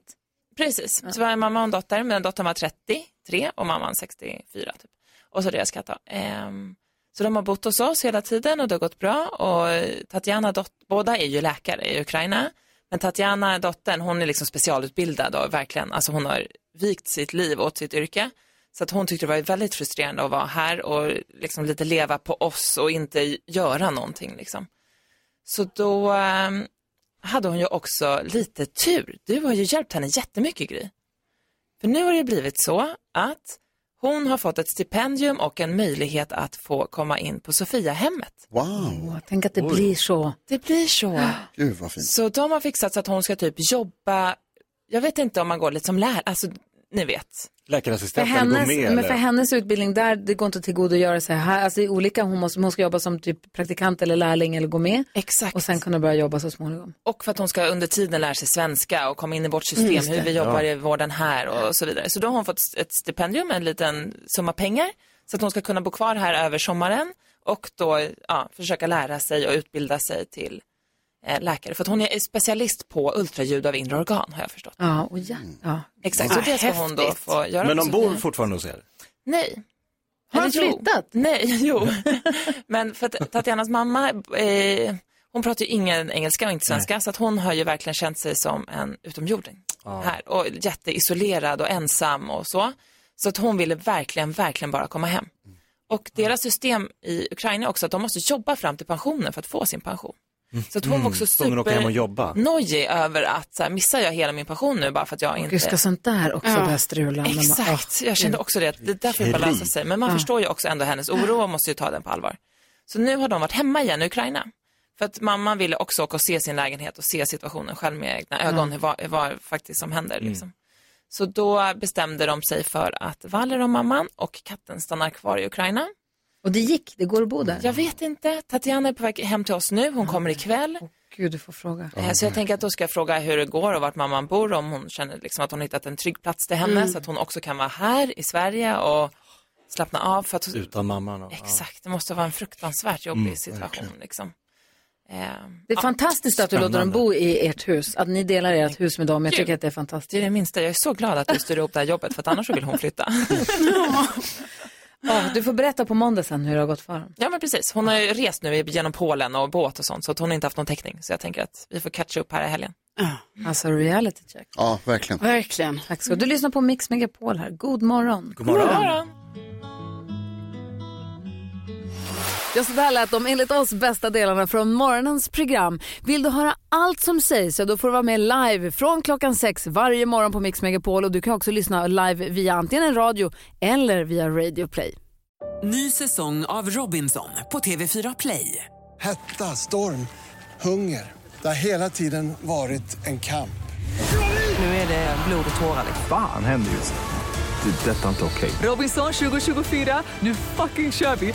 Speaker 16: Precis, så var det en mamma och en dotter, men dottern var 33 och mamman 64 typ. Och så deras katt då. Ehm, så de har bott hos oss hela tiden och det har gått bra och eh, Tatjana, dot- båda är ju läkare i Ukraina, men Tatjana, dottern, hon är liksom specialutbildad och verkligen, alltså hon har vikt sitt liv åt sitt yrke. Så att hon tyckte det var väldigt frustrerande att vara här och liksom lite leva på oss och inte göra någonting liksom. Så då ehm, hade hon ju också lite tur. Du har ju hjälpt henne jättemycket Gry. För nu har det blivit så att hon har fått ett stipendium och en möjlighet att få komma in på Sofiahemmet.
Speaker 4: Wow!
Speaker 1: Tänk att det
Speaker 16: Oj.
Speaker 1: blir så.
Speaker 16: Det blir så.
Speaker 4: Gud vad fint.
Speaker 16: Så de har fixat så att hon ska typ jobba, jag vet inte om man går lite som lärare, alltså ni vet.
Speaker 1: För
Speaker 5: Läkarassistenten
Speaker 1: hennes,
Speaker 5: går med
Speaker 1: men
Speaker 5: eller?
Speaker 1: för hennes utbildning där, det går inte till god att göra så här. Alltså det är olika, hon, måste, hon ska jobba som typ praktikant eller lärling eller gå med.
Speaker 16: Exakt.
Speaker 1: Och sen kunna börja jobba så småningom.
Speaker 16: Och för att hon ska under tiden lära sig svenska och komma in i vårt
Speaker 1: Mm,
Speaker 16: system,
Speaker 1: just det.
Speaker 16: hur vi jobbar
Speaker 1: Ja.
Speaker 16: i vården här och så vidare. Så då har hon fått ett stipendium, en liten summa pengar, så att hon ska kunna bo kvar här över sommaren och då ja, försöka lära sig och utbilda sig till eh, läkare. För att hon är specialist på ultraljud av inre organ har jag förstått.
Speaker 1: Ja, och ja. Mm. ja.
Speaker 16: Exakt, så
Speaker 1: Vad
Speaker 16: det ska hon då
Speaker 1: häftigt.
Speaker 16: få göra.
Speaker 5: Men de
Speaker 16: på
Speaker 5: bor
Speaker 16: Sofia.
Speaker 5: fortfarande hos er?
Speaker 16: Nej.
Speaker 1: Har han
Speaker 16: Eller jo.
Speaker 1: flyttat?
Speaker 16: Nej, jo. Men för att Tatjanas mamma, eh, hon pratar ju ingen engelska och inte svenska, så att hon har ju verkligen känt sig som en utomjording
Speaker 10: Ja.
Speaker 16: här. Och jätteisolerad och ensam och så. Så att hon ville verkligen, verkligen bara komma hem.
Speaker 1: Mm.
Speaker 16: Och deras system i Ukraina är också att de måste jobba fram till pensionen för att få sin pension. Så att hon var också
Speaker 5: Mm. Tvungen att åka hem och jobba.
Speaker 16: supernojig över att så här, missar jag hela min pension nu bara för att jag
Speaker 1: Och
Speaker 16: inte...
Speaker 1: just ska sånt där också
Speaker 16: Ja.
Speaker 1: börja strula. när man-
Speaker 16: Exakt,
Speaker 1: Ah,
Speaker 16: jag kände
Speaker 1: gud.
Speaker 16: också det. Det är därför det bara löser sig. Men man
Speaker 1: Ja.
Speaker 16: förstår ju också ändå hennes oro och måste ju ta den på allvar. Så nu har de varit hemma igen i Ukraina. För att mamman ville också åka och se sin lägenhet och se situationen själv med egna ögon, hur vad, vad faktiskt som händer.
Speaker 5: Mm.
Speaker 16: Liksom. Så då bestämde de sig för att Valer och mamman och katten stannar kvar i Ukraina.
Speaker 1: Och det gick, det går att bo där. Ah.
Speaker 16: Jag vet inte, Tatiana är på väg hem till oss nu, hon kommer ikväll.
Speaker 1: Gud, du får fråga.
Speaker 16: Eh, Så
Speaker 5: Mm-hmm.
Speaker 16: jag tänker att då ska jag fråga hur det går och vart mamman bor, om hon känner liksom att hon hittat en trygg plats till henne
Speaker 1: Mm.
Speaker 16: så att hon också kan vara här i Sverige och slappna av. För att...
Speaker 5: Utan mamman? Och,
Speaker 16: Exakt, det måste vara en fruktansvärt jobbig
Speaker 5: Mm,
Speaker 16: situation. Liksom. Eh,
Speaker 1: Det är
Speaker 16: ja.
Speaker 1: fantastiskt att du låter dem bo i ert hus, att ni delar ert hus med dem. Jag tycker att det är fantastiskt.
Speaker 16: Det är det minsta, jag är så glad att du styr ihop det här jobbet för att annars så vill hon flytta.
Speaker 1: Ja, du får berätta på måndag sen hur det har gått för dem.
Speaker 16: Ja men precis, hon har ju rest nu genom Polen och båt och sånt så att hon har inte haft någon täckning. Så jag tänker att vi får catcha upp här i helgen.
Speaker 1: Alltså reality check.
Speaker 4: Ja, verkligen.
Speaker 6: Verkligen.
Speaker 1: Tack ska du Du lyssnar på Mix Megapol här. God morgon.
Speaker 4: God morgon. Mm. God morgon.
Speaker 1: Ja, så där lät de enligt oss bästa delarna från morgonens program. Vill du höra allt som sägs så då får du vara med live från klockan sex varje morgon på Mix Megapol och du kan också lyssna live via antingen en radio eller via Radio Play.
Speaker 19: Ny säsong av Robinson på TV4 Play.
Speaker 2: Hetta, storm, hunger. Det har hela tiden varit en kamp.
Speaker 19: Nu är det blod och tårar. liksom.
Speaker 20: Fan händer just det. Det är detta inte okej.
Speaker 19: Robinson 2024, nu fucking kör vi!